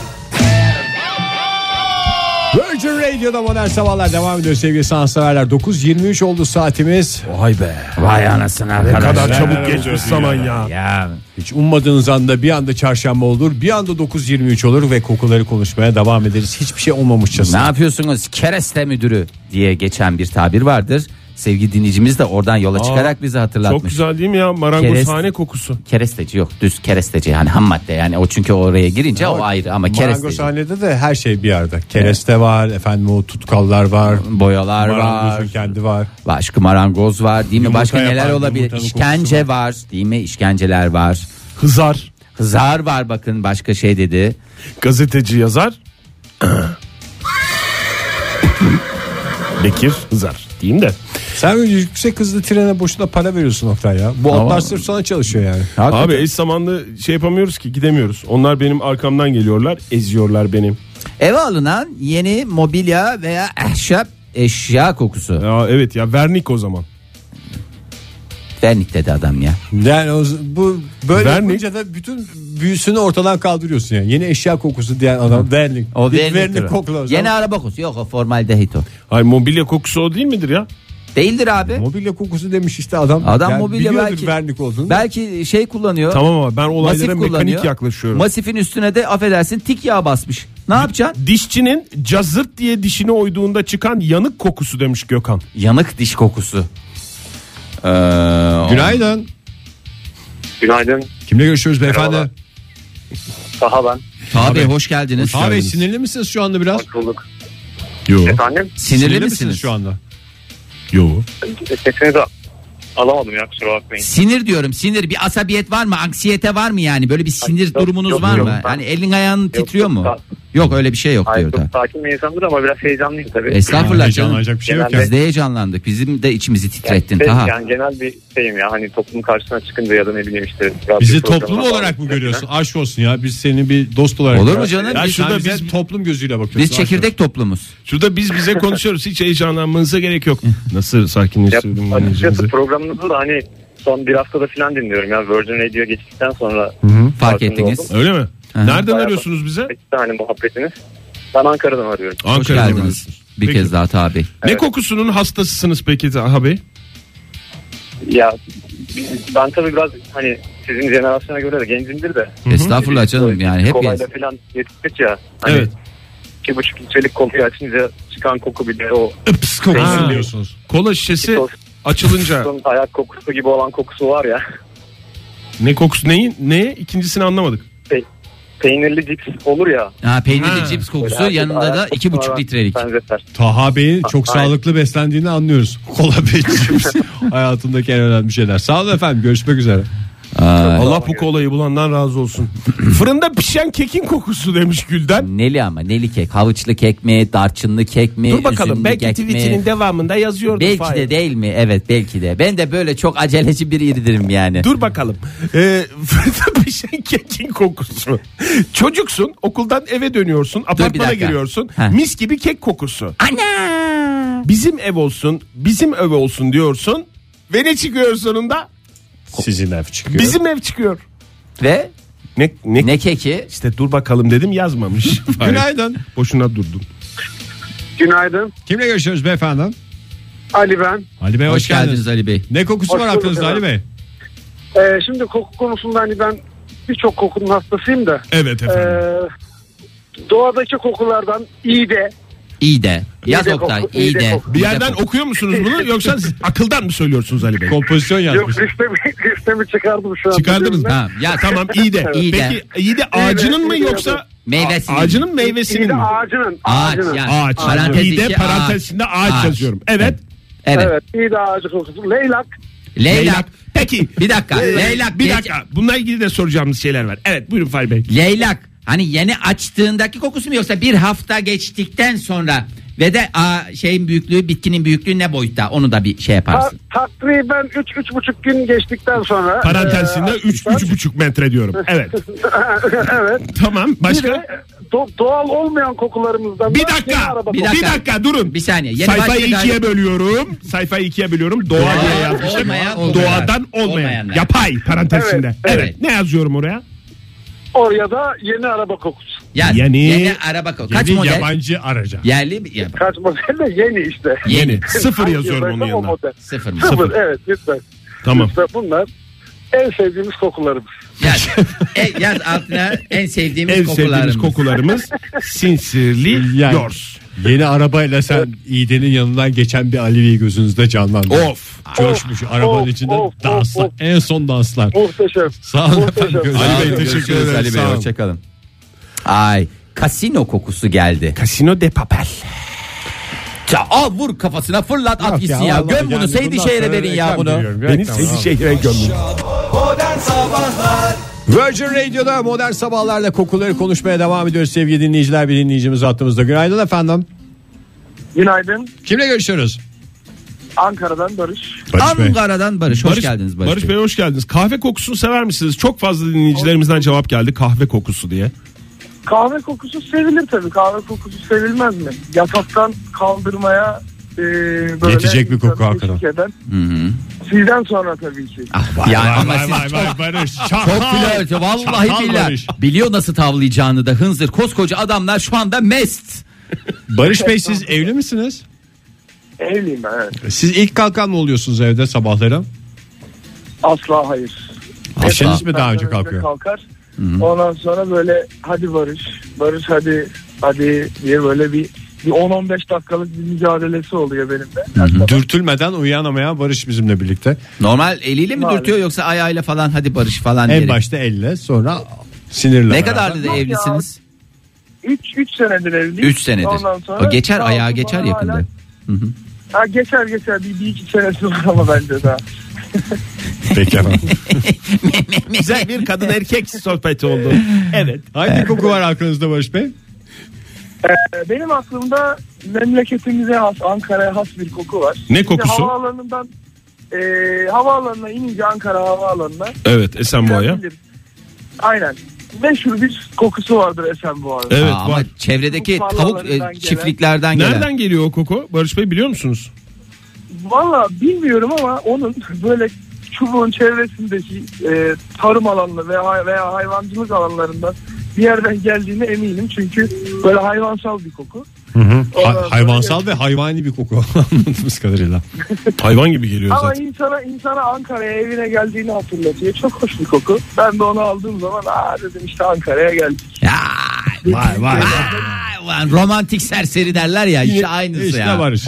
[SPEAKER 3] Virgin Radio'da modern sabahlar devam ediyor sevgili sanatseverler. 9.23 oldu saatimiz.
[SPEAKER 8] Vay be.
[SPEAKER 2] Vay anasına
[SPEAKER 8] Ne kadar çabuk geçmiş zaman ya.
[SPEAKER 2] Ya.
[SPEAKER 3] Hiç ummadığınız anda bir anda çarşamba olur bir anda 9.23 olur ve kokuları konuşmaya devam ederiz. Hiçbir şey
[SPEAKER 2] Ne
[SPEAKER 3] olmamışçasına.
[SPEAKER 2] yapıyorsunuz kereste müdürü diye geçen bir tabir vardır. Sevgili dinleyicimiz de oradan yola çıkarak bizi hatırlatmış.
[SPEAKER 8] Çok güzel değil mi ya marangozhane kokusu.
[SPEAKER 2] Keresteci yok düz keresteci yani ham madde yani o çünkü oraya girince o ayrı ama keresteci.
[SPEAKER 3] Marangozhanede de her şey bir yerde. Kereste var, efendim o tutkallar var,
[SPEAKER 2] Boyalar var.
[SPEAKER 3] marangozun kendi var.
[SPEAKER 2] Başka marangoz var değil mi?
[SPEAKER 3] Yumurta
[SPEAKER 2] Başka neler
[SPEAKER 3] yapan,
[SPEAKER 2] olabilir?
[SPEAKER 3] yumurtanın
[SPEAKER 2] İşkence var. değil mi? İşkenceler var.
[SPEAKER 8] Hızar.
[SPEAKER 2] Hızar var bakın başka şey dedi.
[SPEAKER 8] Gazeteci yazar. Bekir Hızar diyeyim de.
[SPEAKER 3] Sen yüksek hızlı trene boşuna para veriyorsun Oktay ya. Bu atlar sırf sana çalışıyor yani.
[SPEAKER 8] Abi eş zamanlı şey yapamıyoruz ki gidemiyoruz. Onlar benim arkamdan geliyorlar eziyorlar benim.
[SPEAKER 2] Eve alınan yeni mobilya veya ahşap eşya kokusu.
[SPEAKER 8] Ya evet ya vernik o zaman.
[SPEAKER 2] Vernik dedi adam ya.
[SPEAKER 3] Yani o z- bu böyle
[SPEAKER 8] Vernik.
[SPEAKER 3] yapınca da bütün büyüsünü ortadan kaldırıyorsun yani. Yeni eşya kokusu diyen adam vernik.
[SPEAKER 2] O
[SPEAKER 3] Bir
[SPEAKER 2] vernik. diyor.
[SPEAKER 3] kokla. o zaman.
[SPEAKER 2] Yeni araba kokusu. Yok o formaldehit o.
[SPEAKER 8] Hayır mobilya kokusu o değil midir ya?
[SPEAKER 2] Değildir abi.
[SPEAKER 3] Mobilya kokusu demiş işte adam.
[SPEAKER 2] Adam mobilya
[SPEAKER 3] biliyordur
[SPEAKER 2] belki-
[SPEAKER 3] vernik olduğunu.
[SPEAKER 2] Belki şey kullanıyor.
[SPEAKER 8] Tamam ama ben olaylara
[SPEAKER 2] Masif
[SPEAKER 8] mekanik
[SPEAKER 2] kullanıyor.
[SPEAKER 8] yaklaşıyorum.
[SPEAKER 2] Masifin üstüne de affedersin tik yağı basmış. Ne yapacaksın?
[SPEAKER 8] Dişçinin cazırt diye dişini oyduğunda çıkan yanık kokusu demiş Gökhan.
[SPEAKER 2] Yanık diş kokusu. Ee,
[SPEAKER 3] Günaydın.
[SPEAKER 9] Günaydın.
[SPEAKER 3] Kimle görüşüyoruz beyefendi?
[SPEAKER 9] Merhabalar. Daha ben.
[SPEAKER 2] Taha Bey hoş geldiniz.
[SPEAKER 3] Abi sinirli misiniz şu anda biraz?
[SPEAKER 9] Bulduk.
[SPEAKER 8] Yo.
[SPEAKER 9] Efendim
[SPEAKER 2] Sinirli, misiniz?
[SPEAKER 3] şu anda?
[SPEAKER 8] Yo.
[SPEAKER 9] sesinizi alamadım ya kusura bakmayın.
[SPEAKER 2] Sinir diyorum sinir bir asabiyet var mı anksiyete var mı yani böyle bir sinir
[SPEAKER 9] yok,
[SPEAKER 2] durumunuz
[SPEAKER 9] yok,
[SPEAKER 2] var
[SPEAKER 9] yok,
[SPEAKER 2] mı
[SPEAKER 9] ben-
[SPEAKER 2] hani elin ayağın titriyor
[SPEAKER 9] yok,
[SPEAKER 2] mu
[SPEAKER 9] ben-
[SPEAKER 2] yok, Yok öyle bir şey yok
[SPEAKER 12] Ay,
[SPEAKER 2] diyor
[SPEAKER 12] çok
[SPEAKER 2] da.
[SPEAKER 12] sakin bir insandır ama biraz heyecanlıyım tabii.
[SPEAKER 2] Estağfurullah canım.
[SPEAKER 12] Genelde-
[SPEAKER 2] Biz de heyecanlandık. Bizim de içimizi titrettin.
[SPEAKER 12] Yani,
[SPEAKER 2] Taha.
[SPEAKER 12] yani genel bir şeyim ya hani toplum karşısına çıkınca ya da ne bileyim işte. radyo
[SPEAKER 3] Bizi
[SPEAKER 12] programına
[SPEAKER 3] toplum
[SPEAKER 12] bağlı-
[SPEAKER 3] olarak mı görüyorsun? Aşk olsun ya. Biz seni bir dost olarak
[SPEAKER 2] Olur mu
[SPEAKER 3] görüyoruz.
[SPEAKER 2] canım?
[SPEAKER 3] Ya
[SPEAKER 2] Biz-
[SPEAKER 3] şurada
[SPEAKER 2] sen
[SPEAKER 3] biz,
[SPEAKER 2] bize-
[SPEAKER 3] toplum gözüyle bakıyoruz.
[SPEAKER 2] Biz çekirdek toplumuz.
[SPEAKER 8] Şurada biz
[SPEAKER 3] <laughs>
[SPEAKER 8] bize konuşuyoruz. Hiç heyecanlanmanıza gerek yok. <laughs> Nasıl sakinleştirdim dinleyicimizi?
[SPEAKER 12] Açıkçası programınızı da hani son bir haftada falan dinliyorum ya. Virgin Radio geçtikten sonra
[SPEAKER 8] Fark
[SPEAKER 12] farkında
[SPEAKER 8] ettiniz.
[SPEAKER 12] oldum.
[SPEAKER 8] Öyle mi? Nereden
[SPEAKER 12] Bayağı
[SPEAKER 8] arıyorsunuz bize?
[SPEAKER 12] İki tane hani muhabbetiniz. Ben Ankara'dan arıyorum.
[SPEAKER 2] Hoş geldiniz. Bir
[SPEAKER 8] Peki.
[SPEAKER 2] kez daha Taha Bey.
[SPEAKER 8] Ne kokusunun hastasısınız peki Taha Bey?
[SPEAKER 12] Ya ben tabii biraz hani sizin jenerasyona göre de gencimdir de.
[SPEAKER 2] Estağfurullah canım yani hep
[SPEAKER 12] Kolayla falan yetiştik ya. Hani evet. İki buçuk litrelik kolayı açınca çıkan koku bile o.
[SPEAKER 8] Ips
[SPEAKER 12] Ha.
[SPEAKER 8] kokusu diyorsunuz. Kola şişesi açılınca
[SPEAKER 12] Son Ayak kokusu gibi olan kokusu var ya. <laughs>
[SPEAKER 8] ne kokusu neyin ne ikincisini anlamadık.
[SPEAKER 12] Pe- peynirli cips olur ya.
[SPEAKER 2] Ha, peynirli
[SPEAKER 12] Ha.
[SPEAKER 2] cips
[SPEAKER 12] Böyle
[SPEAKER 2] kokusu
[SPEAKER 12] herkes
[SPEAKER 2] yanında da
[SPEAKER 12] ayak
[SPEAKER 2] iki
[SPEAKER 12] kokusuna
[SPEAKER 2] buçuk litrelik.
[SPEAKER 12] benzeter.
[SPEAKER 3] Taha Bey'in çok
[SPEAKER 12] Ha,
[SPEAKER 3] sağlıklı beslendiğini anlıyoruz. <laughs> Kola
[SPEAKER 8] <laughs>
[SPEAKER 3] peynirimiz hayatındaki en önemli şeyler. Sağ olun efendim görüşmek üzere.
[SPEAKER 8] Allah bu kolayı bulandan razı
[SPEAKER 2] <clears throat>
[SPEAKER 8] olsun. Fırında pişen kekin kokusu demiş Gülden.
[SPEAKER 2] Neli ama neli kek. Havuçlu kek mi? Darçınlı kek mi?
[SPEAKER 8] Dur bakalım
[SPEAKER 2] üzümlü
[SPEAKER 8] belki
[SPEAKER 2] kek mi?
[SPEAKER 8] tweetinin devamında yazıyordu.
[SPEAKER 2] Belki
[SPEAKER 8] Fahir.
[SPEAKER 2] de değil mi? Evet belki de. Ben de böyle çok aceleci bir iridirim yani.
[SPEAKER 8] Dur bakalım. Ee, <laughs> fırında pişen kekin kokusu. Çocuksun okuldan eve dönüyorsun apartmana
[SPEAKER 2] dakika.
[SPEAKER 8] giriyorsun.
[SPEAKER 2] Heh.
[SPEAKER 8] Mis gibi kek kokusu.
[SPEAKER 2] Ana!
[SPEAKER 8] Bizim ev olsun bizim ev olsun diyorsun. Ve ne çıkıyor sonunda?
[SPEAKER 3] Sizin ev çıkıyor.
[SPEAKER 8] Bizim ev çıkıyor.
[SPEAKER 2] Ve
[SPEAKER 8] ne, ne,
[SPEAKER 2] keki?
[SPEAKER 8] İşte dur bakalım dedim yazmamış.
[SPEAKER 3] Günaydın.
[SPEAKER 8] Boşuna durdum.
[SPEAKER 6] <laughs> Günaydın.
[SPEAKER 3] Kimle görüşüyoruz beyefendi?
[SPEAKER 6] Ali ben.
[SPEAKER 3] Ali Bey hoş,
[SPEAKER 2] Hoş geldiniz Ali Bey.
[SPEAKER 3] Ne kokusu
[SPEAKER 6] Hoş
[SPEAKER 3] var
[SPEAKER 6] bulduk
[SPEAKER 3] aklınızda Ali
[SPEAKER 6] efendim.
[SPEAKER 3] Bey?
[SPEAKER 6] Ee, şimdi koku konusunda hani ben birçok kokunun hastasıyım da.
[SPEAKER 8] Evet
[SPEAKER 6] Ee, doğadaki kokulardan iyi de
[SPEAKER 2] İyi de.
[SPEAKER 6] İyi
[SPEAKER 2] Yaz
[SPEAKER 6] de
[SPEAKER 2] Oktay.
[SPEAKER 6] koku,
[SPEAKER 2] iyi
[SPEAKER 6] iyi de
[SPEAKER 2] de.
[SPEAKER 6] koku.
[SPEAKER 8] Bir yerden okuyor musunuz bunu yoksa siz akıldan mı söylüyorsunuz Ali Bey?
[SPEAKER 3] Kompozisyon
[SPEAKER 6] yok listemi, <laughs> listemi çıkardım şu an.
[SPEAKER 8] Çıkardınız mı?
[SPEAKER 2] Ha, ya
[SPEAKER 8] Tamam iyi de.
[SPEAKER 2] İyi de.
[SPEAKER 8] Peki iyi de ağacının mı
[SPEAKER 6] iyi de
[SPEAKER 8] yoksa
[SPEAKER 2] Meyvesinin.
[SPEAKER 8] A- ağacının
[SPEAKER 6] İyi
[SPEAKER 8] meyvesinin
[SPEAKER 6] de
[SPEAKER 8] mi?
[SPEAKER 6] ağacının.
[SPEAKER 2] Ağaç
[SPEAKER 6] ağacının.
[SPEAKER 2] yani.
[SPEAKER 8] Ağaç.
[SPEAKER 2] Parantez
[SPEAKER 8] iyi de
[SPEAKER 2] içi
[SPEAKER 8] parantezinde ağaç,
[SPEAKER 2] Ağaç.
[SPEAKER 8] yazıyorum. Evet.
[SPEAKER 2] Evet.
[SPEAKER 6] Evet iyi de ağacı kokusu. Leylak.
[SPEAKER 2] Leylak.
[SPEAKER 8] Peki.
[SPEAKER 2] Bir dakika. Leylak.
[SPEAKER 8] Bir
[SPEAKER 2] geç-
[SPEAKER 8] dakika. Bununla ilgili de soracağımız şeyler var. Evet buyurun Fahir
[SPEAKER 6] Ee,
[SPEAKER 8] Bey.
[SPEAKER 2] Leylak. Hani yeni açtığındaki kokusu mu yoksa bir hafta geçtikten sonra ve de aa, şeyin büyüklüğü bitkinin büyüklüğü ne boyutta onu da bir şey
[SPEAKER 6] Ta,
[SPEAKER 2] yaparsın.
[SPEAKER 6] takriben 3-3,5 gün geçtikten sonra.
[SPEAKER 8] Parantezinde
[SPEAKER 6] e,
[SPEAKER 8] 3
[SPEAKER 6] açmışlar.
[SPEAKER 8] 3,5 metre diyorum. Evet.
[SPEAKER 6] <laughs> evet.
[SPEAKER 8] Tamam.
[SPEAKER 6] Bir
[SPEAKER 8] Başka?
[SPEAKER 6] de do- doğal olmayan kokularımızdan.
[SPEAKER 8] Bir
[SPEAKER 6] da yeni
[SPEAKER 8] dakika.
[SPEAKER 6] araba
[SPEAKER 8] Bir
[SPEAKER 6] kokusu.
[SPEAKER 8] dakika. durun.
[SPEAKER 2] Bir saniye. Yeni
[SPEAKER 8] Sayfayı
[SPEAKER 2] başladı
[SPEAKER 8] ikiye
[SPEAKER 2] galiba.
[SPEAKER 8] bölüyorum. Sayfayı ikiye bölüyorum. Doğa
[SPEAKER 2] Doğal
[SPEAKER 8] diye yazmışım.
[SPEAKER 2] olmayan kokular.
[SPEAKER 8] Doğadan olmayan.
[SPEAKER 2] Olmayanlar.
[SPEAKER 8] Yapay parantezinde.
[SPEAKER 6] Evet,
[SPEAKER 8] Evet.
[SPEAKER 2] evet.
[SPEAKER 8] Ne yazıyorum oraya?
[SPEAKER 6] Oraya da yeni araba kokusu.
[SPEAKER 2] Yaz.
[SPEAKER 8] Yeni-
[SPEAKER 2] Yeni, araba koku. Kaç
[SPEAKER 3] Yeni
[SPEAKER 2] model?
[SPEAKER 3] yabancı araca.
[SPEAKER 2] Yerli bir yap-
[SPEAKER 6] Kaç model de yeni işte.
[SPEAKER 5] <laughs>
[SPEAKER 8] Yeni. Sıfır
[SPEAKER 6] Hangi
[SPEAKER 8] yazıyorum onun
[SPEAKER 6] yıldaysa o
[SPEAKER 8] yanına.
[SPEAKER 6] model.
[SPEAKER 2] Sıfır mı?
[SPEAKER 6] Sıfır. Evet lütfen.
[SPEAKER 8] Tamam.
[SPEAKER 6] Lütfen bunlar en sevdiğimiz kokularımız.
[SPEAKER 2] Yaz. E, yaz altına en sevdiğimiz
[SPEAKER 8] En
[SPEAKER 2] kokularımız.
[SPEAKER 3] <laughs>
[SPEAKER 8] sevdiğimiz kokularımız sinsirli
[SPEAKER 3] Yani.
[SPEAKER 8] yours.
[SPEAKER 3] Yeni arabayla sen İde'nin yanından geçen bir Ali'yi gözünüzde canlandırın.
[SPEAKER 8] Of.
[SPEAKER 3] Coşmuş
[SPEAKER 6] Of,
[SPEAKER 3] arabanın
[SPEAKER 6] of,
[SPEAKER 3] içinde
[SPEAKER 6] of,
[SPEAKER 3] danslar.
[SPEAKER 6] of, of.
[SPEAKER 3] En son danslar.
[SPEAKER 6] Muhteşem.
[SPEAKER 3] Sağ olun efendim.
[SPEAKER 6] Muhteşem.
[SPEAKER 3] Görüşürüz.
[SPEAKER 8] Ali Bey, teşekkür
[SPEAKER 2] Görüşürüz
[SPEAKER 8] ederim,
[SPEAKER 2] Ali Bey.
[SPEAKER 8] sağ olun.
[SPEAKER 2] Hoşçakalın. Ay kasino kokusu geldi.
[SPEAKER 8] Casino de papel.
[SPEAKER 2] Ya al vur kafasına fırlat at
[SPEAKER 3] Yok
[SPEAKER 2] gitsin ya.
[SPEAKER 3] vallahi
[SPEAKER 2] Göm bunu
[SPEAKER 3] yani
[SPEAKER 2] Seydi
[SPEAKER 3] bundan
[SPEAKER 2] Şehir'e
[SPEAKER 3] sonra
[SPEAKER 2] verin ya
[SPEAKER 3] reklam
[SPEAKER 2] bunu.
[SPEAKER 3] veriyorum.
[SPEAKER 8] Beni
[SPEAKER 3] Reklam,
[SPEAKER 8] seni
[SPEAKER 3] tamam.
[SPEAKER 8] şehre gömdün.
[SPEAKER 1] Modern Sabahlar
[SPEAKER 3] Virgin Radio'da modern sabahlarla kokuları konuşmaya devam ediyoruz sevgili dinleyiciler. Bir dinleyicimiz attığımızda. Günaydın efendim.
[SPEAKER 5] Günaydın.
[SPEAKER 3] Kimle görüşüyoruz?
[SPEAKER 5] Ankara'dan Barış.
[SPEAKER 2] Ankara'dan Barış. Hoş geldiniz Barış, Bey.
[SPEAKER 8] Bey hoş geldiniz. Kahve kokusunu sever misiniz? Çok fazla dinleyicilerimizden cevap geldi kahve kokusu diye.
[SPEAKER 5] Kahve kokusu sevilir tabii. Kahve kokusu sevilmez mi? Yataktan kaldırmaya e, böyle
[SPEAKER 3] Yetecek bir koku
[SPEAKER 5] insanı
[SPEAKER 3] hakikaten.
[SPEAKER 5] teşvik eden.
[SPEAKER 2] Hı-hı.
[SPEAKER 5] Sizden sonra tabii ki.
[SPEAKER 2] Ah, yani ama siz çok,
[SPEAKER 3] Barış.
[SPEAKER 2] çok flört. Vallahi
[SPEAKER 3] Barış.
[SPEAKER 2] billahi. Biliyor nasıl tavlayacağını da hınzır. Koskoca adamlar şu anda mest.
[SPEAKER 3] Barış Bey siz evli misiniz?
[SPEAKER 5] Evliyim ben evet.
[SPEAKER 3] Siz ilk kalkan mı oluyorsunuz evde sabahları?
[SPEAKER 5] Asla hayır.
[SPEAKER 3] Eşiniz mi daha önce
[SPEAKER 5] Benden
[SPEAKER 3] kalkıyor?
[SPEAKER 5] Kalkar. Ondan sonra böyle hadi Barış, Barış hadi, hadi diye böyle bir, bir 10-15 dakikalık bir mücadelesi oluyor benimle. Her sabah.
[SPEAKER 3] Dürtülmeden uyuyanamayan Barış bizimle birlikte.
[SPEAKER 2] Normal eliyle mi
[SPEAKER 5] Maalesef.
[SPEAKER 2] dürtüyor yoksa ayağıyla falan hadi Barış falan
[SPEAKER 3] En
[SPEAKER 2] diyerek.
[SPEAKER 3] başta elle sonra sinirle.
[SPEAKER 2] Ne
[SPEAKER 3] beraber.
[SPEAKER 2] kadardı da
[SPEAKER 5] Yok ya.
[SPEAKER 2] evlisiniz?
[SPEAKER 5] 3 3 senedir evliyiz.
[SPEAKER 2] 3 senedir.
[SPEAKER 5] Ondan sonra
[SPEAKER 2] o geçer
[SPEAKER 5] sağ
[SPEAKER 2] ayağa
[SPEAKER 5] olsun
[SPEAKER 2] geçer
[SPEAKER 5] bana
[SPEAKER 2] yakında.
[SPEAKER 5] hala- Ha, geçer geçer bir, bir iki senesi var ama bence daha.
[SPEAKER 3] <laughs> Peki
[SPEAKER 2] <laughs>
[SPEAKER 3] efendim.
[SPEAKER 8] Güzel bir kadın erkek sohbeti oldu. Evet.
[SPEAKER 3] Hangi koku var aklınızda Barış Bey?
[SPEAKER 5] Ee, benim aklımda memleketimize has, Ankara'ya has bir koku var.
[SPEAKER 8] Ne
[SPEAKER 5] Şimdi
[SPEAKER 8] kokusu?
[SPEAKER 5] havaalanından e, havaalanına inince Ankara havaalanına.
[SPEAKER 8] Evet Esenboğa'ya.
[SPEAKER 5] gidilir. Aynen. Meşhur bir kokusu vardır Esenboğa'nın.
[SPEAKER 8] Evet
[SPEAKER 2] Aa, ama
[SPEAKER 8] var.
[SPEAKER 2] çevredeki
[SPEAKER 5] Mutfak
[SPEAKER 2] tavuk e,
[SPEAKER 5] alanlarından gelen-
[SPEAKER 2] çiftliklerden gelen.
[SPEAKER 8] Nereden geliyor o koku? Barış Bey biliyor musunuz?
[SPEAKER 5] Valla bilmiyorum ama onun böyle çubuğun çevresindeki e, tarım alanı veya, veya hayvancılık alanlarından bir yerden geldiğine eminim. Çünkü böyle hayvansal bir koku.
[SPEAKER 3] Ha- hayvansal ve hayvani bir koku <laughs> anladığımız kadarıyla.
[SPEAKER 8] Hayvan gibi geliyor
[SPEAKER 5] Ama insana insana Ankara'ya evine geldiğini hatırlatıyor. Çok hoş bir koku. Ben de onu aldığım zaman aa dedim işte Ankara'ya geldik.
[SPEAKER 2] Vay vay. Ulan romantik serseri derler ya işte aynısı
[SPEAKER 8] işte
[SPEAKER 2] ya.
[SPEAKER 8] Barış.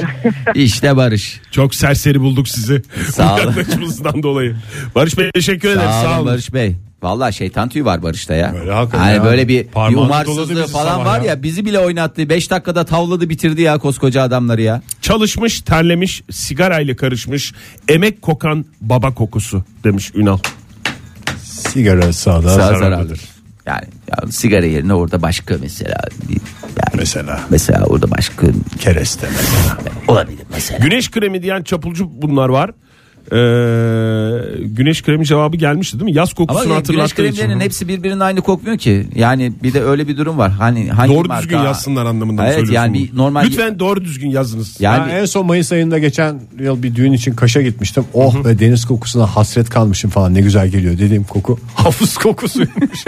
[SPEAKER 2] işte Barış.
[SPEAKER 8] Çok serseri bulduk sizi.
[SPEAKER 2] Sağ olun.
[SPEAKER 8] Yaklaşımınızdan dolayı. Barış Bey teşekkür ederim.
[SPEAKER 2] Sağ,
[SPEAKER 8] Sağ,
[SPEAKER 2] olun
[SPEAKER 8] olun.
[SPEAKER 2] Barış Bey. Vallahi şeytan tüyü var Barış'ta ya. Böyle,
[SPEAKER 8] hakikaten
[SPEAKER 2] yani
[SPEAKER 8] ya.
[SPEAKER 2] böyle bir, bir
[SPEAKER 8] Parmağını doladı
[SPEAKER 2] umarsızlığı
[SPEAKER 8] bizi
[SPEAKER 2] falan
[SPEAKER 8] sabah
[SPEAKER 2] var ya.
[SPEAKER 8] ya.
[SPEAKER 2] bizi bile oynattı. 5 dakikada tavladı bitirdi ya koskoca adamları ya.
[SPEAKER 8] Çalışmış, terlemiş, sigarayla karışmış, emek kokan baba kokusu demiş Ünal.
[SPEAKER 3] Sigara sağda
[SPEAKER 2] Sağ zararlıdır. Yani ya sigara yerine orada başka mesela mesela mesela orada başka
[SPEAKER 3] kereste mesela
[SPEAKER 2] olabilir mesela.
[SPEAKER 8] Güneş kremi diyen çapulcu bunlar var. Ee, güneş kremi cevabı gelmişti değil mi? Yaz
[SPEAKER 2] Ama
[SPEAKER 8] kokusunu
[SPEAKER 2] ya güneş
[SPEAKER 8] hatırlattığı için.
[SPEAKER 2] kremlerinin hepsi birbirinin aynı kokmuyor ki. Yani bir de öyle bir durum var. Hani hangi
[SPEAKER 8] Doğru
[SPEAKER 2] marka-
[SPEAKER 8] düzgün yazsınlar anlamında mı
[SPEAKER 2] Evet
[SPEAKER 8] söylüyorsun
[SPEAKER 2] yani
[SPEAKER 8] bunu?
[SPEAKER 2] bir normal
[SPEAKER 8] Lütfen doğru düzgün yazınız. <laughs>
[SPEAKER 2] Yani-
[SPEAKER 3] Yani en son Mayıs ayında geçen yıl bir düğün için Kaş'a gitmiştim. Oh ve deniz kokusuna hasret kalmışım falan ne güzel geliyor dediğim koku <laughs> hafız
[SPEAKER 2] <laughs>
[SPEAKER 3] kokusuymuş.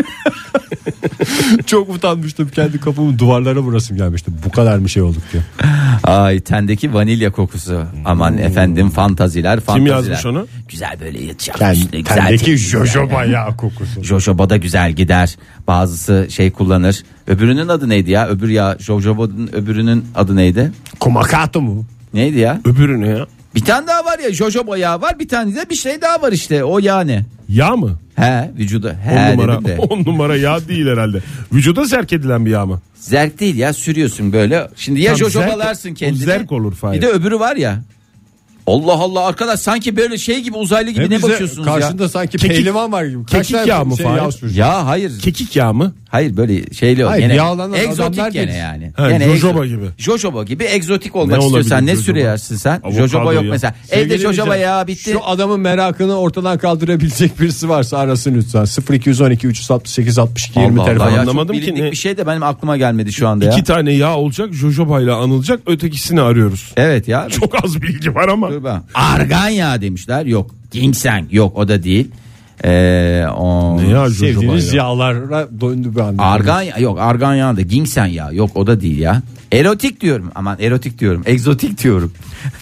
[SPEAKER 3] Çok utanmıştım kendi kafamı duvarlara vurasım gelmişti. Bu kadar bir şey olduk diye.
[SPEAKER 2] Ay tendeki vanilya kokusu. Aman efendim fantaziler fantaziler.
[SPEAKER 8] Hmm. yazmış onu?
[SPEAKER 2] Güzel böyle yatacak.
[SPEAKER 3] Ten-
[SPEAKER 2] üstüne güzel
[SPEAKER 3] tendeki
[SPEAKER 2] tepsi, güzel.
[SPEAKER 3] jojoba yağı kokusu.
[SPEAKER 2] Jojoba da güzel gider. Bazısı şey kullanır. Öbürünün adı neydi ya? Öbür ya Jojoba'nın öbürünün adı neydi?
[SPEAKER 3] Kumakato mu?
[SPEAKER 2] Neydi ya?
[SPEAKER 8] Öbürü ne ya?
[SPEAKER 2] Bir tane daha var ya Jojoba yağı var. Bir tane de bir şey daha var işte. O yağ ne?
[SPEAKER 8] Yağ mı?
[SPEAKER 2] He vücuda.
[SPEAKER 8] On
[SPEAKER 2] He dedim
[SPEAKER 3] <laughs>
[SPEAKER 8] numara,
[SPEAKER 2] de.
[SPEAKER 8] on numara yağ değil herhalde. Vücuda zerk edilen bir yağ mı?
[SPEAKER 2] Zerk değil ya sürüyorsun böyle. Şimdi ya
[SPEAKER 8] Tam zerk-
[SPEAKER 2] jojobalarsın kendini.
[SPEAKER 8] o zerk olur Fahir.
[SPEAKER 2] Bir de öbürü var ya. Allah Allah arkadaş sanki böyle şey gibi uzaylı gibi
[SPEAKER 3] Hem
[SPEAKER 2] ne
[SPEAKER 3] bize
[SPEAKER 2] bakıyorsunuz ya?
[SPEAKER 3] karşında sanki
[SPEAKER 2] Kekik-
[SPEAKER 3] pehlivan var gibi. Kaç
[SPEAKER 2] kekik
[SPEAKER 3] tane
[SPEAKER 2] yağı mı
[SPEAKER 3] şey
[SPEAKER 2] Fahir?
[SPEAKER 3] yağ sürüyorsun?
[SPEAKER 2] Ya hayır.
[SPEAKER 8] Kekik yağı mı?
[SPEAKER 2] Hayır böyle şeyli o.
[SPEAKER 3] Hayır,
[SPEAKER 2] Gene
[SPEAKER 3] yağlanan adamlar
[SPEAKER 2] egzotik gene
[SPEAKER 3] değil.
[SPEAKER 2] yani.
[SPEAKER 8] He,
[SPEAKER 2] Gene
[SPEAKER 8] jojoba
[SPEAKER 2] egzo-
[SPEAKER 8] gibi.
[SPEAKER 2] Jojoba gibi egzotik
[SPEAKER 8] Ne
[SPEAKER 2] olmak
[SPEAKER 8] olabilir
[SPEAKER 2] istiyorsan ne
[SPEAKER 8] jojoba?
[SPEAKER 2] sürersin sen?
[SPEAKER 8] Avokado
[SPEAKER 2] jojoba yok
[SPEAKER 8] ya.
[SPEAKER 2] mesela.
[SPEAKER 3] Sevgili
[SPEAKER 2] Evde jojoba
[SPEAKER 3] dinleyiciler,
[SPEAKER 2] ya bitti.
[SPEAKER 3] Şu adamın merakını ortadan kaldırabilecek birisi varsa arasın lütfen. 0212 368 62 20
[SPEAKER 2] Allah Allah
[SPEAKER 3] telefon.
[SPEAKER 2] ya, çok
[SPEAKER 8] anlamadım ki
[SPEAKER 2] bilindik
[SPEAKER 8] ne-
[SPEAKER 2] Bir şey de benim aklıma gelmedi şu anda ya.
[SPEAKER 8] İki tane yağ olacak, jojoba ile anılacak, ötekisini arıyoruz. <laughs>
[SPEAKER 2] Evet ya.
[SPEAKER 8] Çok az bilgi var ama.
[SPEAKER 2] Dur ben. Argan yağı demişler. Yok. Ginseng. Yok o da değil. Ee, o...
[SPEAKER 8] Ne ya jojoba
[SPEAKER 3] Sevdiğiniz
[SPEAKER 8] ya?
[SPEAKER 3] yağlara döndü bir anda.
[SPEAKER 2] Argan ya- yok argan yağı da ginseng yağı yok o da değil ya. Erotik diyorum aman erotik diyorum egzotik diyorum.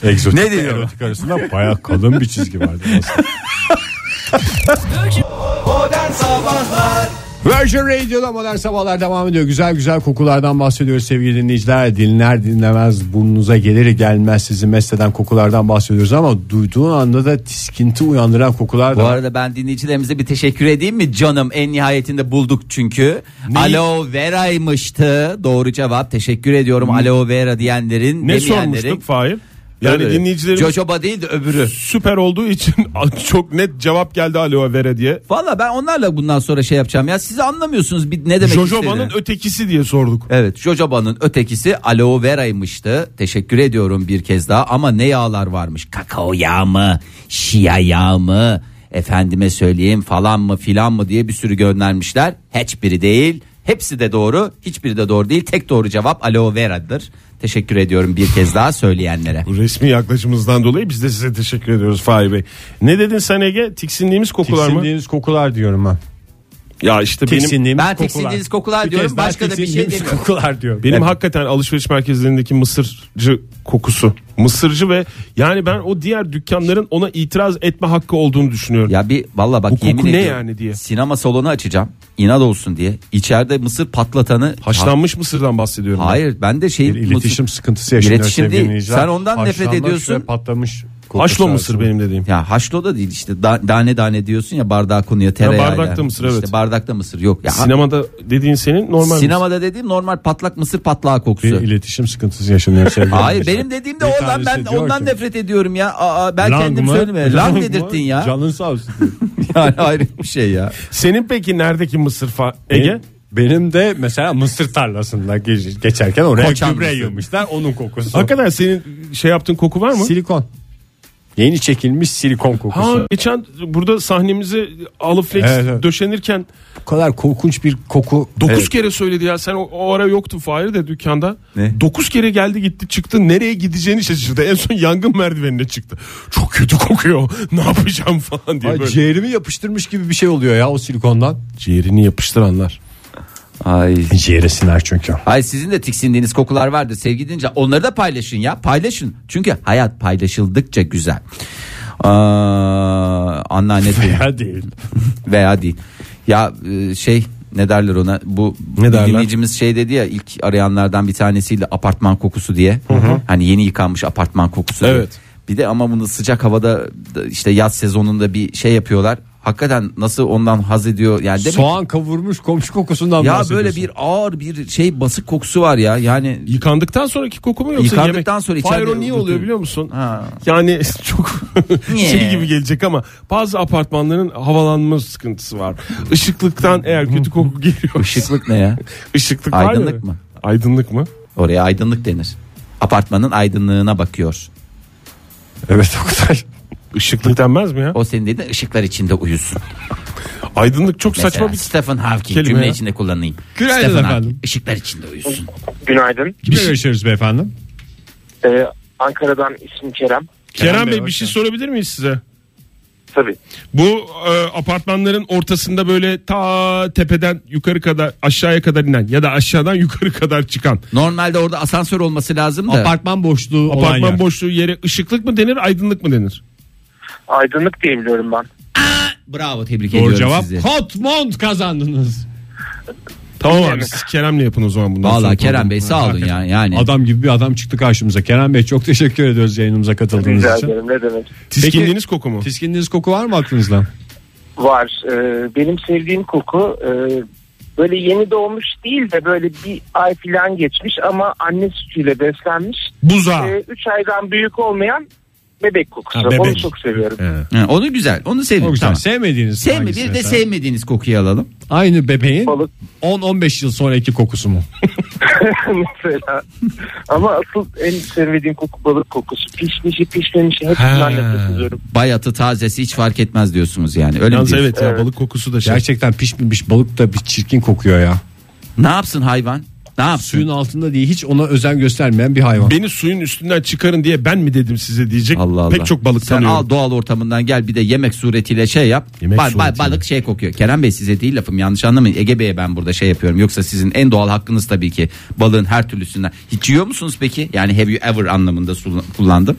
[SPEAKER 3] Egzotik
[SPEAKER 2] Ne
[SPEAKER 3] ne
[SPEAKER 2] diyor?
[SPEAKER 3] erotik arasında baya kalın bir çizgi vardı aslında. Virgin Radio'da modern sabahlar devam ediyor. Güzel güzel kokulardan bahsediyoruz sevgili dinleyiciler. Dinler dinlemez burnunuza gelir gelmez sizi mest eden kokulardan bahsediyoruz ama duyduğun anda da tiskinti uyandıran kokular da
[SPEAKER 2] Bu
[SPEAKER 3] var.
[SPEAKER 2] arada ben dinleyicilerimize bir teşekkür edeyim mi canım en nihayetinde bulduk çünkü. Aloe vera'ymıştı doğru cevap teşekkür ediyorum aloe vera diyenlerin
[SPEAKER 8] Ne
[SPEAKER 2] demeyenlerin.
[SPEAKER 8] sormuştuk Fahir? Yani
[SPEAKER 2] Öyle.
[SPEAKER 8] dinleyicilerimiz
[SPEAKER 2] Jojoba değil de öbürü.
[SPEAKER 8] süper olduğu için <laughs> çok net cevap geldi aloe vera diye.
[SPEAKER 2] Valla ben onlarla bundan sonra şey yapacağım ya siz anlamıyorsunuz bir ne demek istediğini.
[SPEAKER 8] Jojoba'nın ötekisi diye sorduk.
[SPEAKER 2] Evet Jojoba'nın ötekisi aloe vera'ymıştı. Teşekkür ediyorum bir kez daha ama ne yağlar varmış? Kakao yağı mı? Şia yağı mı? Efendime söyleyeyim falan mı filan mı diye bir sürü göndermişler. Hiçbiri değil. Hepsi de doğru. Hiçbiri de doğru değil. Tek doğru cevap aloe vera'dır. Teşekkür ediyorum bir kez daha söyleyenlere.
[SPEAKER 8] Bu resmi yaklaşımımızdan dolayı biz de size teşekkür ediyoruz Fahir Bey. Ne dedin sen Ege? Tiksindiğimiz kokular mı?
[SPEAKER 3] Tiksindiğiniz kokular diyorum ben.
[SPEAKER 8] Ya işte benim
[SPEAKER 3] Tiksindiğimiz
[SPEAKER 2] Ben tiksindiğiniz kokular
[SPEAKER 3] Bir
[SPEAKER 2] diyorum,
[SPEAKER 3] kez daha
[SPEAKER 2] başka da bir şey
[SPEAKER 3] tiksindiğimiz
[SPEAKER 2] demiyorum.
[SPEAKER 3] kokular diyorum.
[SPEAKER 8] benim hakikaten alışveriş merkezlerindeki mısırcı kokusu. Mısırcı ve yani ben o diğer dükkanların ona itiraz etme hakkı olduğunu düşünüyorum.
[SPEAKER 2] Ya bir valla bak
[SPEAKER 8] Bu koku
[SPEAKER 2] yemin
[SPEAKER 8] ne
[SPEAKER 2] ediyorum.
[SPEAKER 8] yani diye.
[SPEAKER 2] Sinema salonu açacağım. İnat olsun diye. İçeride mısır patlatanı
[SPEAKER 8] Haşlanmış mısırdan bahsediyorum. ben.
[SPEAKER 2] Hayır ben de şey
[SPEAKER 3] Bir iletişim
[SPEAKER 2] mısır-
[SPEAKER 3] sıkıntısı yaşanıyor
[SPEAKER 2] İletişim
[SPEAKER 3] sevgili
[SPEAKER 2] değil.
[SPEAKER 3] dinleyiciler.
[SPEAKER 2] Sen ondan nefret
[SPEAKER 3] Haşlanmış
[SPEAKER 2] ediyorsun.
[SPEAKER 3] ve patlamış. kokusu
[SPEAKER 8] Haşlo mısır
[SPEAKER 3] arasında.
[SPEAKER 8] benim dediğim.
[SPEAKER 2] Ya haşlo da değil işte da- tane tane diyorsun ya bardağa konuyor tereyağı.
[SPEAKER 8] bardakta
[SPEAKER 2] yani.
[SPEAKER 8] mısır,
[SPEAKER 2] İşte
[SPEAKER 8] evet.
[SPEAKER 2] bardakta mısır yok. Ya,
[SPEAKER 8] Sinemada dediğin senin normal mısır.
[SPEAKER 2] sinemada dediğim normal patlak mısır patlağı
[SPEAKER 3] Bir
[SPEAKER 2] kokusu.
[SPEAKER 3] iletişim sıkıntısı yaşanıyor sevgili
[SPEAKER 2] Hayır
[SPEAKER 3] dinleyiciler.
[SPEAKER 2] benim dediğim de
[SPEAKER 3] Bir
[SPEAKER 2] o lan
[SPEAKER 3] tanesi
[SPEAKER 2] ben
[SPEAKER 3] diyor
[SPEAKER 2] ondan
[SPEAKER 3] ki,
[SPEAKER 2] nefret ediyorum ya. Aa, ben
[SPEAKER 3] "Lang
[SPEAKER 2] kendim
[SPEAKER 3] mı?
[SPEAKER 2] söyleme. Lan
[SPEAKER 3] mı?
[SPEAKER 2] dedirttin ya.
[SPEAKER 8] <laughs>
[SPEAKER 2] <laughs>
[SPEAKER 3] Canın sağ olsun.
[SPEAKER 2] Yani ayrı bir şey ya.
[SPEAKER 8] Senin peki neredeki mısır fa- Ege?
[SPEAKER 3] Benim de mesela mısır tarlasında ge- geçerken oraya
[SPEAKER 8] Koçan
[SPEAKER 3] gübre
[SPEAKER 8] mısır.
[SPEAKER 3] yığmışlar onun kokusu.
[SPEAKER 8] Hakikaten senin şey yaptığın koku var mı?
[SPEAKER 3] Silikon. Yeni çekilmiş silikon kokusu.
[SPEAKER 8] Ha geçen burada sahnemizi alıp flex
[SPEAKER 3] Evet, evet.
[SPEAKER 8] döşenirken
[SPEAKER 3] Bu kadar korkunç bir koku.
[SPEAKER 8] 9
[SPEAKER 3] Evet.
[SPEAKER 8] kere söyledi ya sen o, o ara yoktun Fahir de dükkanda.
[SPEAKER 2] Ne?
[SPEAKER 8] 9 kere geldi gitti çıktı nereye gideceğini şaşırdı. En son yangın merdivenine çıktı. Çok kötü kokuyor <laughs> ne yapacağım falan diye
[SPEAKER 3] Ay,
[SPEAKER 8] böyle.
[SPEAKER 3] ciğerimi yapıştırmış gibi bir şey oluyor ya o silikondan.
[SPEAKER 8] Ciğerini yapıştıranlar.
[SPEAKER 2] Ay.
[SPEAKER 3] Ciğere siner çünkü.
[SPEAKER 2] Ay sizin de tiksindiğiniz kokular vardır sevgili dinleyiciler. Onları da paylaşın ya. Paylaşın. Çünkü hayat paylaşıldıkça güzel. Aa, anneanne
[SPEAKER 3] <laughs> Veya değil.
[SPEAKER 2] Veya değil. Ya e, şey ne derler ona bu
[SPEAKER 8] Ne derler?
[SPEAKER 2] dinleyicimiz şey dedi ya ilk arayanlardan bir tanesiyle apartman kokusu diye. Hani yeni yıkanmış apartman kokusu. diye.
[SPEAKER 8] Evet.
[SPEAKER 2] Bir de ama bunu sıcak havada da işte yaz sezonunda bir şey yapıyorlar. Hakikaten nasıl ondan haz ediyor yani demek
[SPEAKER 3] Soğan kavurmuş komşu kokusundan
[SPEAKER 2] ya
[SPEAKER 3] bahsediyorsun.
[SPEAKER 2] böyle bir ağır bir şey basık kokusu var ya. Yani
[SPEAKER 8] Yıkandıktan sonraki koku mu yoksa
[SPEAKER 2] Yıkandıktan
[SPEAKER 8] yemek?
[SPEAKER 2] sonra
[SPEAKER 8] Fahir
[SPEAKER 2] içeride
[SPEAKER 8] o niye oluyor
[SPEAKER 2] unutuyorum.
[SPEAKER 8] biliyor musun?
[SPEAKER 2] Ha.
[SPEAKER 8] Yani <laughs> çok
[SPEAKER 2] <laughs> Niye?
[SPEAKER 8] şey gibi gelecek ama bazı apartmanların havalanma sıkıntısı var. Işıklıktan eğer kötü koku
[SPEAKER 2] <laughs>
[SPEAKER 8] geliyor.
[SPEAKER 2] ışıklık ne ya?
[SPEAKER 8] Işıklık var ya
[SPEAKER 2] Aydınlık
[SPEAKER 8] be.
[SPEAKER 2] mı?
[SPEAKER 8] Aydınlık mı?
[SPEAKER 2] Oraya aydınlık denir. Apartmanın aydınlığına bakıyor.
[SPEAKER 3] Evet Oktay.
[SPEAKER 8] Işıklık denmez mi ya?
[SPEAKER 2] O senin dediğin ışıklar içinde uyusun.
[SPEAKER 8] Aydınlık çok
[SPEAKER 2] Mesela
[SPEAKER 8] saçma bir
[SPEAKER 2] Stephen Hawking
[SPEAKER 8] kelime
[SPEAKER 2] cümle
[SPEAKER 8] ya.
[SPEAKER 2] içinde kullanayım.
[SPEAKER 3] Günaydın
[SPEAKER 2] Stephen
[SPEAKER 3] efendim.
[SPEAKER 2] Hawking, ışıklar içinde uyusun.
[SPEAKER 12] Günaydın.
[SPEAKER 3] Kimle görüşüyoruz beyefendi?
[SPEAKER 12] Ee, Ankara'dan isim Kerem.
[SPEAKER 8] Kerem Bey
[SPEAKER 3] Bey,
[SPEAKER 8] bir şey sorabilir miyiz size?
[SPEAKER 12] Tabii.
[SPEAKER 8] Bu e, apartmanların ortasında böyle ta tepeden yukarı kadar aşağıya kadar inen ya da aşağıdan <laughs> yukarı kadar çıkan
[SPEAKER 2] Normalde orada asansör olması lazım da.
[SPEAKER 3] Apartman boşluğu olan
[SPEAKER 8] apartman
[SPEAKER 3] yer.
[SPEAKER 8] boşluğu yere ışıklık mı denir aydınlık mı denir?
[SPEAKER 12] Aydınlık diyebiliyorum ben.
[SPEAKER 2] Bravo tebrik
[SPEAKER 3] Doğru
[SPEAKER 2] ediyorum
[SPEAKER 3] cevap.
[SPEAKER 2] sizi.
[SPEAKER 3] Hotmont kazandınız.
[SPEAKER 8] Tamam abi siz Kerem'le yapın o zaman bundan
[SPEAKER 2] Valla
[SPEAKER 8] sonra
[SPEAKER 2] Kerem Bey
[SPEAKER 8] programı.
[SPEAKER 2] sağ olun
[SPEAKER 8] Hakikaten.
[SPEAKER 2] ya. Yani
[SPEAKER 3] Adam gibi bir adam çıktı karşımıza. Kerem Bey çok teşekkür ediyoruz yayınımıza katıldığınız
[SPEAKER 12] Rica
[SPEAKER 3] için.
[SPEAKER 12] ederim ne demek.
[SPEAKER 8] Tiskinliğiniz koku mu?
[SPEAKER 3] Tiskindiğiniz koku var mı aklınızda?
[SPEAKER 12] Var. Ee, benim sevdiğim koku e, böyle yeni doğmuş değil de böyle bir ay falan geçmiş ama anne sütüyle beslenmiş.
[SPEAKER 8] Buza.
[SPEAKER 5] Ee,
[SPEAKER 12] 3 Ee, aydan büyük olmayan bebek kokusu.
[SPEAKER 3] Ha, bebek.
[SPEAKER 12] Onu çok seviyorum.
[SPEAKER 2] He, onu güzel. Onu sevdim.
[SPEAKER 3] O güzel.
[SPEAKER 2] Tamam.
[SPEAKER 3] Sevmediğiniz
[SPEAKER 2] Sevme
[SPEAKER 3] hangisi
[SPEAKER 2] bir de
[SPEAKER 3] mesela?
[SPEAKER 2] sevmediğiniz kokuyu alalım.
[SPEAKER 3] Aynı bebeğin
[SPEAKER 12] Balık.
[SPEAKER 3] 10-15 yıl sonraki kokusu mu?
[SPEAKER 12] <laughs> Mesela. ama asıl en sevmediğim koku balık kokusu. Pişmişi pişmemişi hepsinden nefret ediyorum.
[SPEAKER 2] Bayatı tazesi hiç fark etmez diyorsunuz yani. Öyle mi
[SPEAKER 8] Yalnız
[SPEAKER 2] diyorsun?
[SPEAKER 8] evet ya balık kokusu da şey.
[SPEAKER 3] Gerçekten pişmemiş balık da bir çirkin kokuyor ya.
[SPEAKER 2] Ne yapsın hayvan? Ne yapsın?
[SPEAKER 3] Suyun altında diye hiç ona özen göstermeyen bir hayvan.
[SPEAKER 8] Beni suyun üstünden çıkarın diye ben mi dedim size diyecek.
[SPEAKER 2] Allah Allah.
[SPEAKER 8] Pek çok balık
[SPEAKER 2] Sen
[SPEAKER 8] tanıyorum.
[SPEAKER 2] al doğal ortamından gel bir de yemek suretiyle şey yap.
[SPEAKER 8] Yemek
[SPEAKER 2] Ba- ba-
[SPEAKER 8] suretiyle.
[SPEAKER 2] balık şey kokuyor. Kerem Bey size değil lafım yanlış anlamayın. Ege Bey'e ben burada şey yapıyorum. Yoksa sizin en doğal hakkınız tabii ki balığın her türlüsünden. Hiç yiyor musunuz peki? Yani have you ever anlamında sul- kullandım.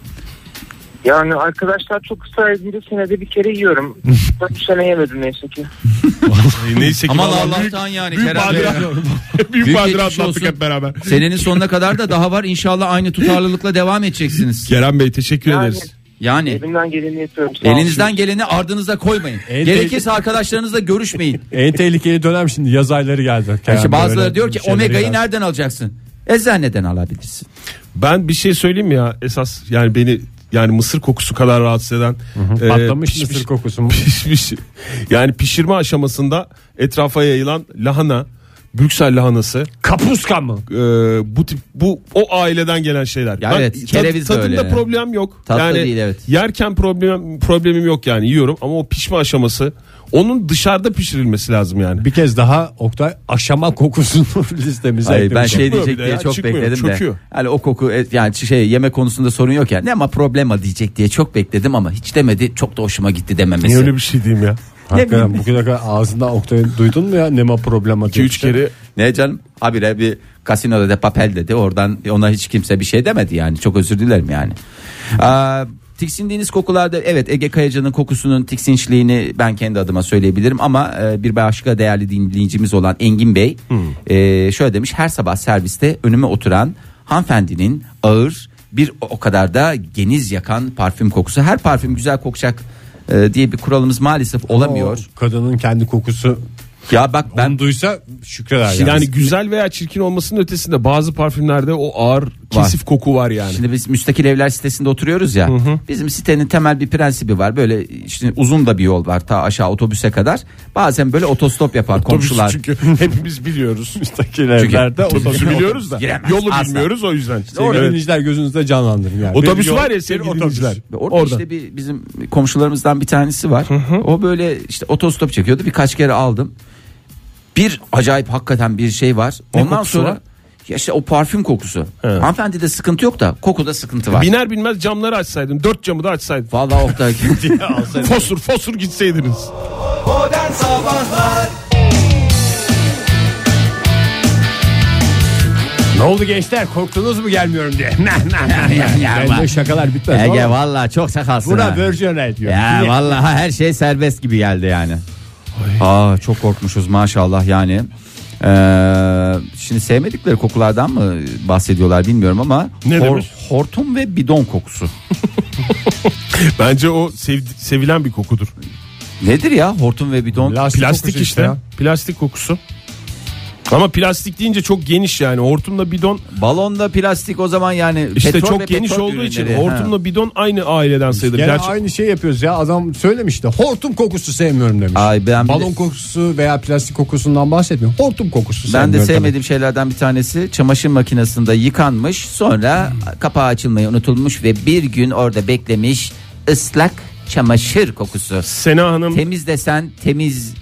[SPEAKER 12] Yani arkadaşlar çok ısrar edince senede bir
[SPEAKER 3] <laughs>
[SPEAKER 12] kere yiyorum. Dört sene yemedim neyse ki.
[SPEAKER 8] Ay, Neyse ki
[SPEAKER 2] Aman
[SPEAKER 8] vallahi
[SPEAKER 2] Allah'tan yani
[SPEAKER 8] büyük
[SPEAKER 2] Kerem Bey.
[SPEAKER 8] badire, büyük
[SPEAKER 2] Büyük
[SPEAKER 8] badire
[SPEAKER 2] geçmiş
[SPEAKER 8] atlattık
[SPEAKER 2] olsun.
[SPEAKER 8] hep beraber.
[SPEAKER 2] Senenin sonuna kadar da daha var. İnşallah aynı tutarlılıkla devam edeceksiniz.
[SPEAKER 8] Kerem Bey teşekkür
[SPEAKER 12] Yani-
[SPEAKER 8] ederiz.
[SPEAKER 2] Yani
[SPEAKER 12] Elimden geleni yapıyorum. Sağ olun.
[SPEAKER 2] elinizden geleni ardınıza koymayın.
[SPEAKER 3] Evet.
[SPEAKER 2] Gerekirse arkadaşlarınızla görüşmeyin.
[SPEAKER 3] En tehlikeli dönem şimdi yaz ayları geldi.
[SPEAKER 2] İşte
[SPEAKER 3] Kerem
[SPEAKER 2] bazıları
[SPEAKER 3] böyle
[SPEAKER 2] diyor ki
[SPEAKER 3] şeyler
[SPEAKER 2] omega'yı
[SPEAKER 3] geldi.
[SPEAKER 2] nereden alacaksın? Eczaneden alabilirsin.
[SPEAKER 8] Ben bir şey söyleyeyim mi ya esas yani beni yani mısır kokusu kadar rahatsız eden
[SPEAKER 3] Ee,
[SPEAKER 8] e,
[SPEAKER 3] Patlamış
[SPEAKER 8] pişmiş-
[SPEAKER 3] mısır kokusu mu?
[SPEAKER 8] <laughs> pişmiş yani pişirme aşamasında etrafa yayılan lahana Brüksel lahanası
[SPEAKER 3] Kapuska mı?
[SPEAKER 8] e, bu tip bu o aileden gelen şeyler.
[SPEAKER 2] Ya
[SPEAKER 8] Ben
[SPEAKER 2] evet, kereviz de
[SPEAKER 8] tadında
[SPEAKER 2] öyle yani.
[SPEAKER 8] problem yok.
[SPEAKER 2] Tatlı
[SPEAKER 8] yani
[SPEAKER 2] değil, evet.
[SPEAKER 8] yerken problem problemim yok yani yiyorum ama o pişme aşaması onun dışarıda pişirilmesi lazım yani.
[SPEAKER 3] Bir kez daha Oktay aşama kokusunu <laughs> listemize
[SPEAKER 2] Ay, ben
[SPEAKER 3] eklemiş.
[SPEAKER 2] şey
[SPEAKER 8] Çıkmıyor
[SPEAKER 2] diyecek
[SPEAKER 8] bir de
[SPEAKER 2] diye
[SPEAKER 8] ya,
[SPEAKER 2] çok
[SPEAKER 8] çıkmıyor,
[SPEAKER 2] bekledim
[SPEAKER 8] çöküyor.
[SPEAKER 2] de. Yani o koku e, yani şey yeme konusunda sorun yok yani. Ne ama problema diyecek diye çok bekledim ama hiç demedi. Çok da hoşuma gitti dememesi.
[SPEAKER 8] Niye öyle bir şey diyeyim ya?
[SPEAKER 3] Hakikaten bugüne kadar ağzından Oktay'ın duydun mu ya nema problema diye.
[SPEAKER 8] 2-3 kere
[SPEAKER 2] Ne canım? Habire bir kasinoda de papel dedi. Oradan ona hiç kimse bir şey demedi yani. Çok özür dilerim yani. Aa, tiksindiğiniz kokularda evet Ege Kayacan'ın kokusunun tiksinçliğini ben kendi adıma söyleyebilirim ama e, bir başka değerli dinleyicimiz olan Engin Bey e, şöyle demiş her sabah serviste önüme oturan hanımefendinin ağır bir o kadar da geniz yakan parfüm kokusu her parfüm güzel kokacak e, diye bir kuralımız maalesef olamıyor.
[SPEAKER 3] O şey? kadının kendi kokusu
[SPEAKER 2] Ya bak ben
[SPEAKER 3] ben duysa şükreder yani.
[SPEAKER 8] Yani güzel veya çirkin olmasının ötesinde bazı parfümlerde o ağır kesif koku var yani.
[SPEAKER 2] Şimdi biz müstakil evler sitesinde oturuyoruz ya. Bizim sitenin temel bir prensibi var. Böyle işte uzun da bir yol var ta aşağı otobüse kadar. Bazen böyle otostop yapar komşular.
[SPEAKER 8] Çünkü <laughs> hepimiz
[SPEAKER 2] <laughs>
[SPEAKER 8] biliyoruz. Müstakil
[SPEAKER 3] <laughs>
[SPEAKER 2] evlerde
[SPEAKER 8] otobüsü
[SPEAKER 2] otobüs-
[SPEAKER 8] biliyoruz da.
[SPEAKER 2] Giremez,
[SPEAKER 8] yolu
[SPEAKER 2] asla.
[SPEAKER 8] bilmiyoruz o yüzden.
[SPEAKER 3] Sevgili dinleyiciler gözünüzde canlandırın yani.
[SPEAKER 8] Otobüs
[SPEAKER 3] Benim
[SPEAKER 8] var
[SPEAKER 3] yol-
[SPEAKER 8] ya sevgili
[SPEAKER 3] benim
[SPEAKER 8] dinleyiciler.
[SPEAKER 2] Orada işte bir bizim komşularımızdan bir tanesi var. O böyle işte otostop çekiyordu. Birkaç kere aldım. Bir acayip hakikaten bir şey var.
[SPEAKER 8] Ne
[SPEAKER 2] Ondan
[SPEAKER 8] kokusu
[SPEAKER 2] sonra
[SPEAKER 8] var?
[SPEAKER 2] ya işte o parfüm kokusu. Hanımefendi de sıkıntı yok da kokuda
[SPEAKER 8] <laughs>
[SPEAKER 2] sıkıntı <laughs> var.
[SPEAKER 8] Biner binmez camları açsaydım. Dört camı da açsaydım.
[SPEAKER 2] Vallahi
[SPEAKER 8] <laughs>
[SPEAKER 2] Oktay.
[SPEAKER 8] fosur fosur gitseydiniz.
[SPEAKER 1] Modern Sabahlar
[SPEAKER 3] Ne
[SPEAKER 8] <laughs>
[SPEAKER 3] oldu gençler korktunuz mu gelmiyorum diye. Ben de şakalar bitmez.
[SPEAKER 13] Ege
[SPEAKER 3] Vallahi.
[SPEAKER 13] valla çok sakalsın.
[SPEAKER 3] Buna
[SPEAKER 13] ha.
[SPEAKER 3] Virgin Red diyor.
[SPEAKER 13] Ya
[SPEAKER 3] Niye?
[SPEAKER 13] vallahi her şey serbest gibi geldi yani.
[SPEAKER 2] Aa çok korkmuşuz maşallah yani. Ee, şimdi sevmedikleri kokulardan mı bahsediyorlar bilmiyorum ama
[SPEAKER 8] Ne
[SPEAKER 2] hor-
[SPEAKER 8] demiş?
[SPEAKER 2] hortum ve bidon kokusu.
[SPEAKER 8] Bence o sevdi- sevilen bir kokudur.
[SPEAKER 2] Nedir ya hortum ve bidon?
[SPEAKER 8] Plastik, işte. Plastik kokusu. Ama plastik deyince çok geniş yani. Hortumla bidon
[SPEAKER 2] Balonda plastik o zaman yani
[SPEAKER 8] işte
[SPEAKER 2] petrol ve
[SPEAKER 8] çok geniş
[SPEAKER 2] petrol
[SPEAKER 8] olduğu için
[SPEAKER 2] ürünleri,
[SPEAKER 8] hortumla bidon aynı aileden sayılır.
[SPEAKER 3] Gene
[SPEAKER 8] Gerçi-
[SPEAKER 3] aynı şey yapıyoruz ya adam söylemişti hortum kokusu sevmiyorum demiş.
[SPEAKER 2] Ay ben bir de-
[SPEAKER 3] Balon kokusu veya plastik kokusundan bahsetmiyorum. Hortum kokusu
[SPEAKER 2] Ben
[SPEAKER 3] sevmiyorum.
[SPEAKER 2] de
[SPEAKER 3] demek.
[SPEAKER 2] sevmediğim şeylerden bir tanesi çamaşır makinesinde yıkanmış sonra kapağı açılmayı unutulmuş ve bir gün orada beklemiş ıslak çamaşır kokusu.
[SPEAKER 8] Sena Hanım.
[SPEAKER 2] Temiz desen temiz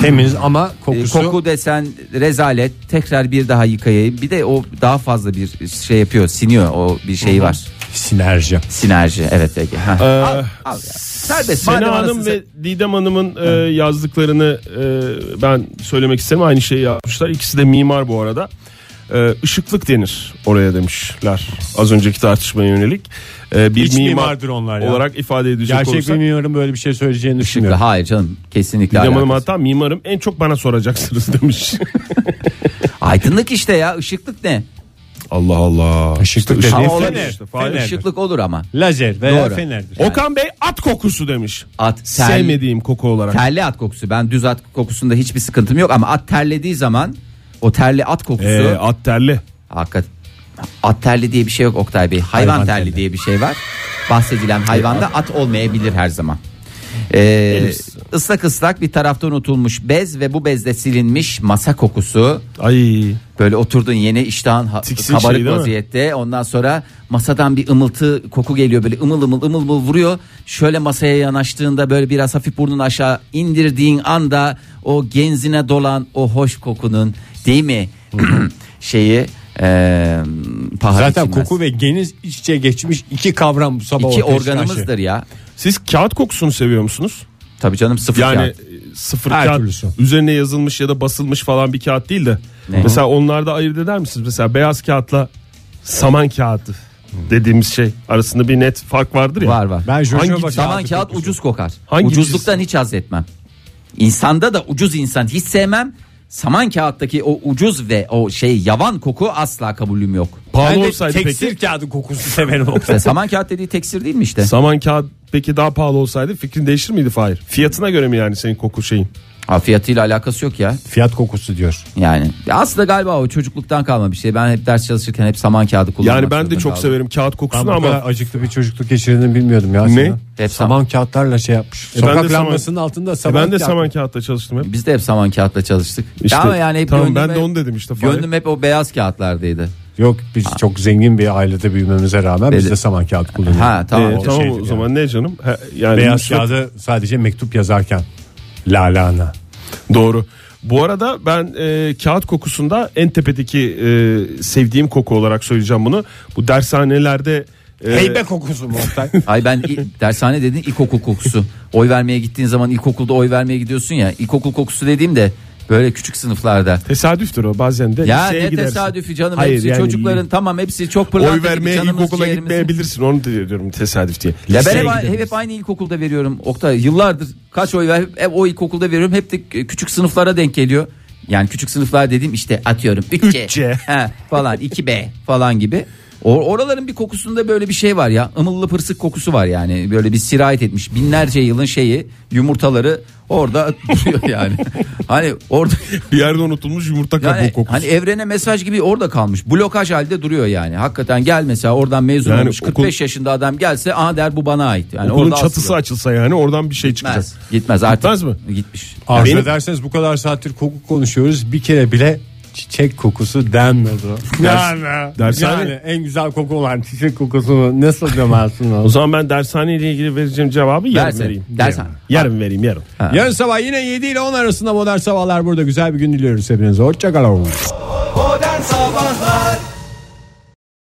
[SPEAKER 3] Temiz ama
[SPEAKER 2] kokusu. Koku desen rezalet tekrar bir daha yıkayayım. Bir de o daha fazla bir şey yapıyor siniyor o bir şey var.
[SPEAKER 3] Sinerji.
[SPEAKER 2] Sinerji evet Ege. Heh.
[SPEAKER 8] Ee,
[SPEAKER 2] Al, al ya. Serbest. Madem
[SPEAKER 8] E, Sena Hanım
[SPEAKER 2] anasını
[SPEAKER 8] ve Didem Hanım'ın e, yazdıklarını e, ben söylemek isterim. Aynı şeyi yapmışlar. İkisi de mimar bu arada. E, ışıklık denir oraya demişler. Az önceki tartışmaya yönelik. E, bir
[SPEAKER 3] İç
[SPEAKER 8] mimar
[SPEAKER 3] mimardır onlar ya.
[SPEAKER 8] olarak ifade edecek
[SPEAKER 3] Gerçek
[SPEAKER 8] olursak.
[SPEAKER 3] bilmiyorum böyle bir şey söyleyeceğini
[SPEAKER 2] Kesinlikle,
[SPEAKER 3] düşünmüyorum.
[SPEAKER 2] Hayır canım kesinlikle
[SPEAKER 8] Didem Hanım
[SPEAKER 2] alakası.
[SPEAKER 8] hatta mimarım en çok bana soracaksınız <laughs> demiş.
[SPEAKER 2] Aydınlık işte ya ışıklık ne?
[SPEAKER 8] Allah Allah.
[SPEAKER 3] Işıklık
[SPEAKER 2] Ha,
[SPEAKER 3] dediğin
[SPEAKER 2] olur
[SPEAKER 3] fener.
[SPEAKER 2] işte.
[SPEAKER 3] Fenerdir.
[SPEAKER 2] Işıklık olur ama.
[SPEAKER 3] Lazer veya
[SPEAKER 2] Doğru.
[SPEAKER 3] fenerdir.
[SPEAKER 8] Okan Bey at kokusu demiş.
[SPEAKER 2] At tel-
[SPEAKER 8] Sevmediğim koku olarak.
[SPEAKER 2] Terli at kokusu. Ben düz at kokusunda hiçbir sıkıntım yok ama at terlediği zaman o terli at kokusu.
[SPEAKER 8] Ee, at terli.
[SPEAKER 2] Hakikat. At terli diye bir şey yok Oktay Bey. Hayvan,
[SPEAKER 3] Hayvan
[SPEAKER 2] terli, diye bir şey var. Bahsedilen hayvanda at olmayabilir her zaman. Ee, ıslak ıslak bir tarafta unutulmuş bez ve bu bezde silinmiş masa kokusu.
[SPEAKER 8] Ay.
[SPEAKER 2] Böyle oturdun yeni iştahın ha-
[SPEAKER 8] Tiksin şey
[SPEAKER 2] kabarık
[SPEAKER 8] değil mi?
[SPEAKER 2] vaziyette. Ondan sonra masadan bir ımıltı koku geliyor böyle ımıl ımıl ımıl ımıl vuruyor. Şöyle masaya yanaştığında böyle biraz hafif burnunu aşağı indirdiğin anda o genzine dolan o hoş kokunun değil mi <clears throat> şeyi eee paha
[SPEAKER 3] Zaten
[SPEAKER 2] biçilmez.
[SPEAKER 3] koku ve geniz iç içe geçmiş iki kavram bu sabah
[SPEAKER 2] İki
[SPEAKER 3] ortaya çıkan şey.
[SPEAKER 2] organımızdır
[SPEAKER 8] şey.
[SPEAKER 2] ya.
[SPEAKER 8] Siz kağıt kokusunu seviyor musunuz?
[SPEAKER 2] Tabii canım sıfır
[SPEAKER 8] Yani
[SPEAKER 2] kağıt.
[SPEAKER 8] e, sıfır
[SPEAKER 3] Her
[SPEAKER 8] kağıt
[SPEAKER 3] türlüsü.
[SPEAKER 8] üzerine yazılmış ya da basılmış falan bir kağıt değil de.
[SPEAKER 2] Ne?
[SPEAKER 8] Mesela onlarda ayırt eder misiniz? Mesela beyaz kağıtla saman kağıdı dediğimiz şey arasında bir net fark vardır ya.
[SPEAKER 2] Var var.
[SPEAKER 3] Ben Jojoba
[SPEAKER 8] Hangi-
[SPEAKER 2] Saman kağıt ucuz kokar.
[SPEAKER 8] Hangi
[SPEAKER 2] Ucuzluktan hiç haz etmem. İnsanda da ucuz insan hiç sevmem. Saman kağıttaki o ucuz ve o şey yavan koku asla kabulüm yok.
[SPEAKER 8] Pahalı
[SPEAKER 3] Ben de
[SPEAKER 8] olsaydı
[SPEAKER 3] tekstil
[SPEAKER 8] peki.
[SPEAKER 3] kağıdı <laughs> kokusu severim.
[SPEAKER 2] İşte saman kağıt dediği teksir değil mi işte?
[SPEAKER 8] Saman kağıt peki daha pahalı olsaydı fikrin değişir miydi Fahir? Fiyatına göre mi yani senin koku şeyin?
[SPEAKER 2] Ha, fiyatıyla alakası yok ya.
[SPEAKER 3] Fiyat kokusu diyor.
[SPEAKER 2] Yani Ya aslında galiba o çocukluktan kalma bir şey. Ben hep ders çalışırken hep saman kağıdı kullanmak
[SPEAKER 8] Yani ben de
[SPEAKER 2] zorunda
[SPEAKER 8] çok
[SPEAKER 2] kaldım.
[SPEAKER 8] severim kağıt
[SPEAKER 3] Ben
[SPEAKER 8] kokusunu
[SPEAKER 3] bu
[SPEAKER 8] ama
[SPEAKER 3] kadar acıklı bir çocukluk geçirdiğini bilmiyordum ya.
[SPEAKER 8] Ne?
[SPEAKER 3] aslında.
[SPEAKER 2] Hep
[SPEAKER 3] saman kağıtlarla şey yapmış.
[SPEAKER 8] E ben de
[SPEAKER 3] Sokak
[SPEAKER 8] saman-
[SPEAKER 3] lambasının altında
[SPEAKER 8] E
[SPEAKER 3] saman
[SPEAKER 8] ben de
[SPEAKER 3] kağıt.
[SPEAKER 8] saman kağıtla çalıştım hep.
[SPEAKER 2] Biz de hep saman kağıtla çalıştık.
[SPEAKER 8] İşte,
[SPEAKER 2] Ya ama yani hep
[SPEAKER 8] tamam,
[SPEAKER 2] gönlüm
[SPEAKER 8] ben de
[SPEAKER 2] hep-
[SPEAKER 8] onu dedim işte, Fahir.
[SPEAKER 2] Gönlüm hep o beyaz kağıtlardaydı.
[SPEAKER 3] Yok biz çok zengin bir ailede büyümemize rağmen biz
[SPEAKER 2] Dedi.
[SPEAKER 3] de saman kağıt kullanıyoruz.
[SPEAKER 2] Ha tamam.
[SPEAKER 8] Ee,
[SPEAKER 3] o da
[SPEAKER 8] tamam
[SPEAKER 3] şeydir
[SPEAKER 8] o
[SPEAKER 3] yani.
[SPEAKER 8] zaman ne canım? Ha, yani
[SPEAKER 3] Beyaz
[SPEAKER 8] Nusret-
[SPEAKER 3] kağıdı sadece mektup yazarken lalana.
[SPEAKER 8] Doğru. Bu arada ben e, kağıt kokusunda en tepedeki e, sevdiğim koku olarak söyleyeceğim bunu. Bu dershanelerde e,
[SPEAKER 3] Heybe kokusu mu Oktay?
[SPEAKER 2] Ay ben
[SPEAKER 8] <laughs>
[SPEAKER 2] i- dershane dedin ilkokul kokusu. Oy vermeye gittiğin zaman ilkokulda oy vermeye gidiyorsun ya. İlkokul kokusu dediğim de böyle küçük sınıflarda.
[SPEAKER 8] tesadüftür o bazen de
[SPEAKER 2] Ya
[SPEAKER 8] liseye
[SPEAKER 2] ne
[SPEAKER 8] Şey gidersin.
[SPEAKER 2] tesadüfi canım
[SPEAKER 8] Hayır,
[SPEAKER 2] hepsi
[SPEAKER 8] yani
[SPEAKER 2] çocukların tamam hepsi çok pırlanta
[SPEAKER 8] Oy
[SPEAKER 2] gibi
[SPEAKER 8] vermeye
[SPEAKER 2] canımız,
[SPEAKER 8] ilkokula
[SPEAKER 2] ciğerimiz.
[SPEAKER 8] gitmeyebilirsin onu da diyorum tesadüf diye.
[SPEAKER 2] Ya ben
[SPEAKER 8] Liseye
[SPEAKER 2] hep,
[SPEAKER 8] gidelim.
[SPEAKER 2] hep, aynı ilkokulda veriyorum Oktay. Yıllardır kaç oy ver hep o ilkokulda veriyorum. Hep de küçük sınıflara denk geliyor. Yani küçük sınıflar dediğim işte atıyorum 3C,
[SPEAKER 8] Üç C.
[SPEAKER 2] falan 2B falan gibi. O- oraların bir kokusunda böyle bir şey var ya. Imıllı pırsık kokusu var yani. Böyle bir sirayet etmiş. Binlerce yılın şeyi yumurtaları orada <laughs> duruyor yani. hani orada
[SPEAKER 8] bir yerde unutulmuş yumurta kabuğu
[SPEAKER 2] yani,
[SPEAKER 8] kokusu.
[SPEAKER 2] Hani evrene mesaj gibi orada kalmış. Blokaj halde duruyor yani. Hakikaten gel mesela oradan mezun
[SPEAKER 8] Yani
[SPEAKER 2] olmuş 45 yaşında adam gelse aha der bu bana ait. Yani
[SPEAKER 8] Okulun
[SPEAKER 2] orada
[SPEAKER 8] çatısı
[SPEAKER 2] asılı.
[SPEAKER 8] açılsa yani oradan bir şey çıkacak.
[SPEAKER 2] Gitmez artık.
[SPEAKER 8] Gitmez mi?
[SPEAKER 2] Gitmiş.
[SPEAKER 3] Arzu
[SPEAKER 8] Benim-
[SPEAKER 3] ederseniz bu kadar saattir koku konuşuyoruz. Bir kere bile çiçek kokusu denmedi.
[SPEAKER 8] Yani. Dershane-
[SPEAKER 3] Yani en güzel koku olan çiçek kokusunu nasıl
[SPEAKER 8] <laughs>
[SPEAKER 3] demezsin?
[SPEAKER 8] O zaman ben dershaneyle ilgili vereceğim cevabı yarın
[SPEAKER 3] Dershane,
[SPEAKER 8] vereyim.
[SPEAKER 3] dershane.
[SPEAKER 8] Yarın vereyim yarın.
[SPEAKER 3] Yarın sabah yine 7 ile 10 arasında modern sabahlar burada. Güzel bir gün diliyoruz hepinize. Hoşçakalın.
[SPEAKER 1] Modern Sabahlar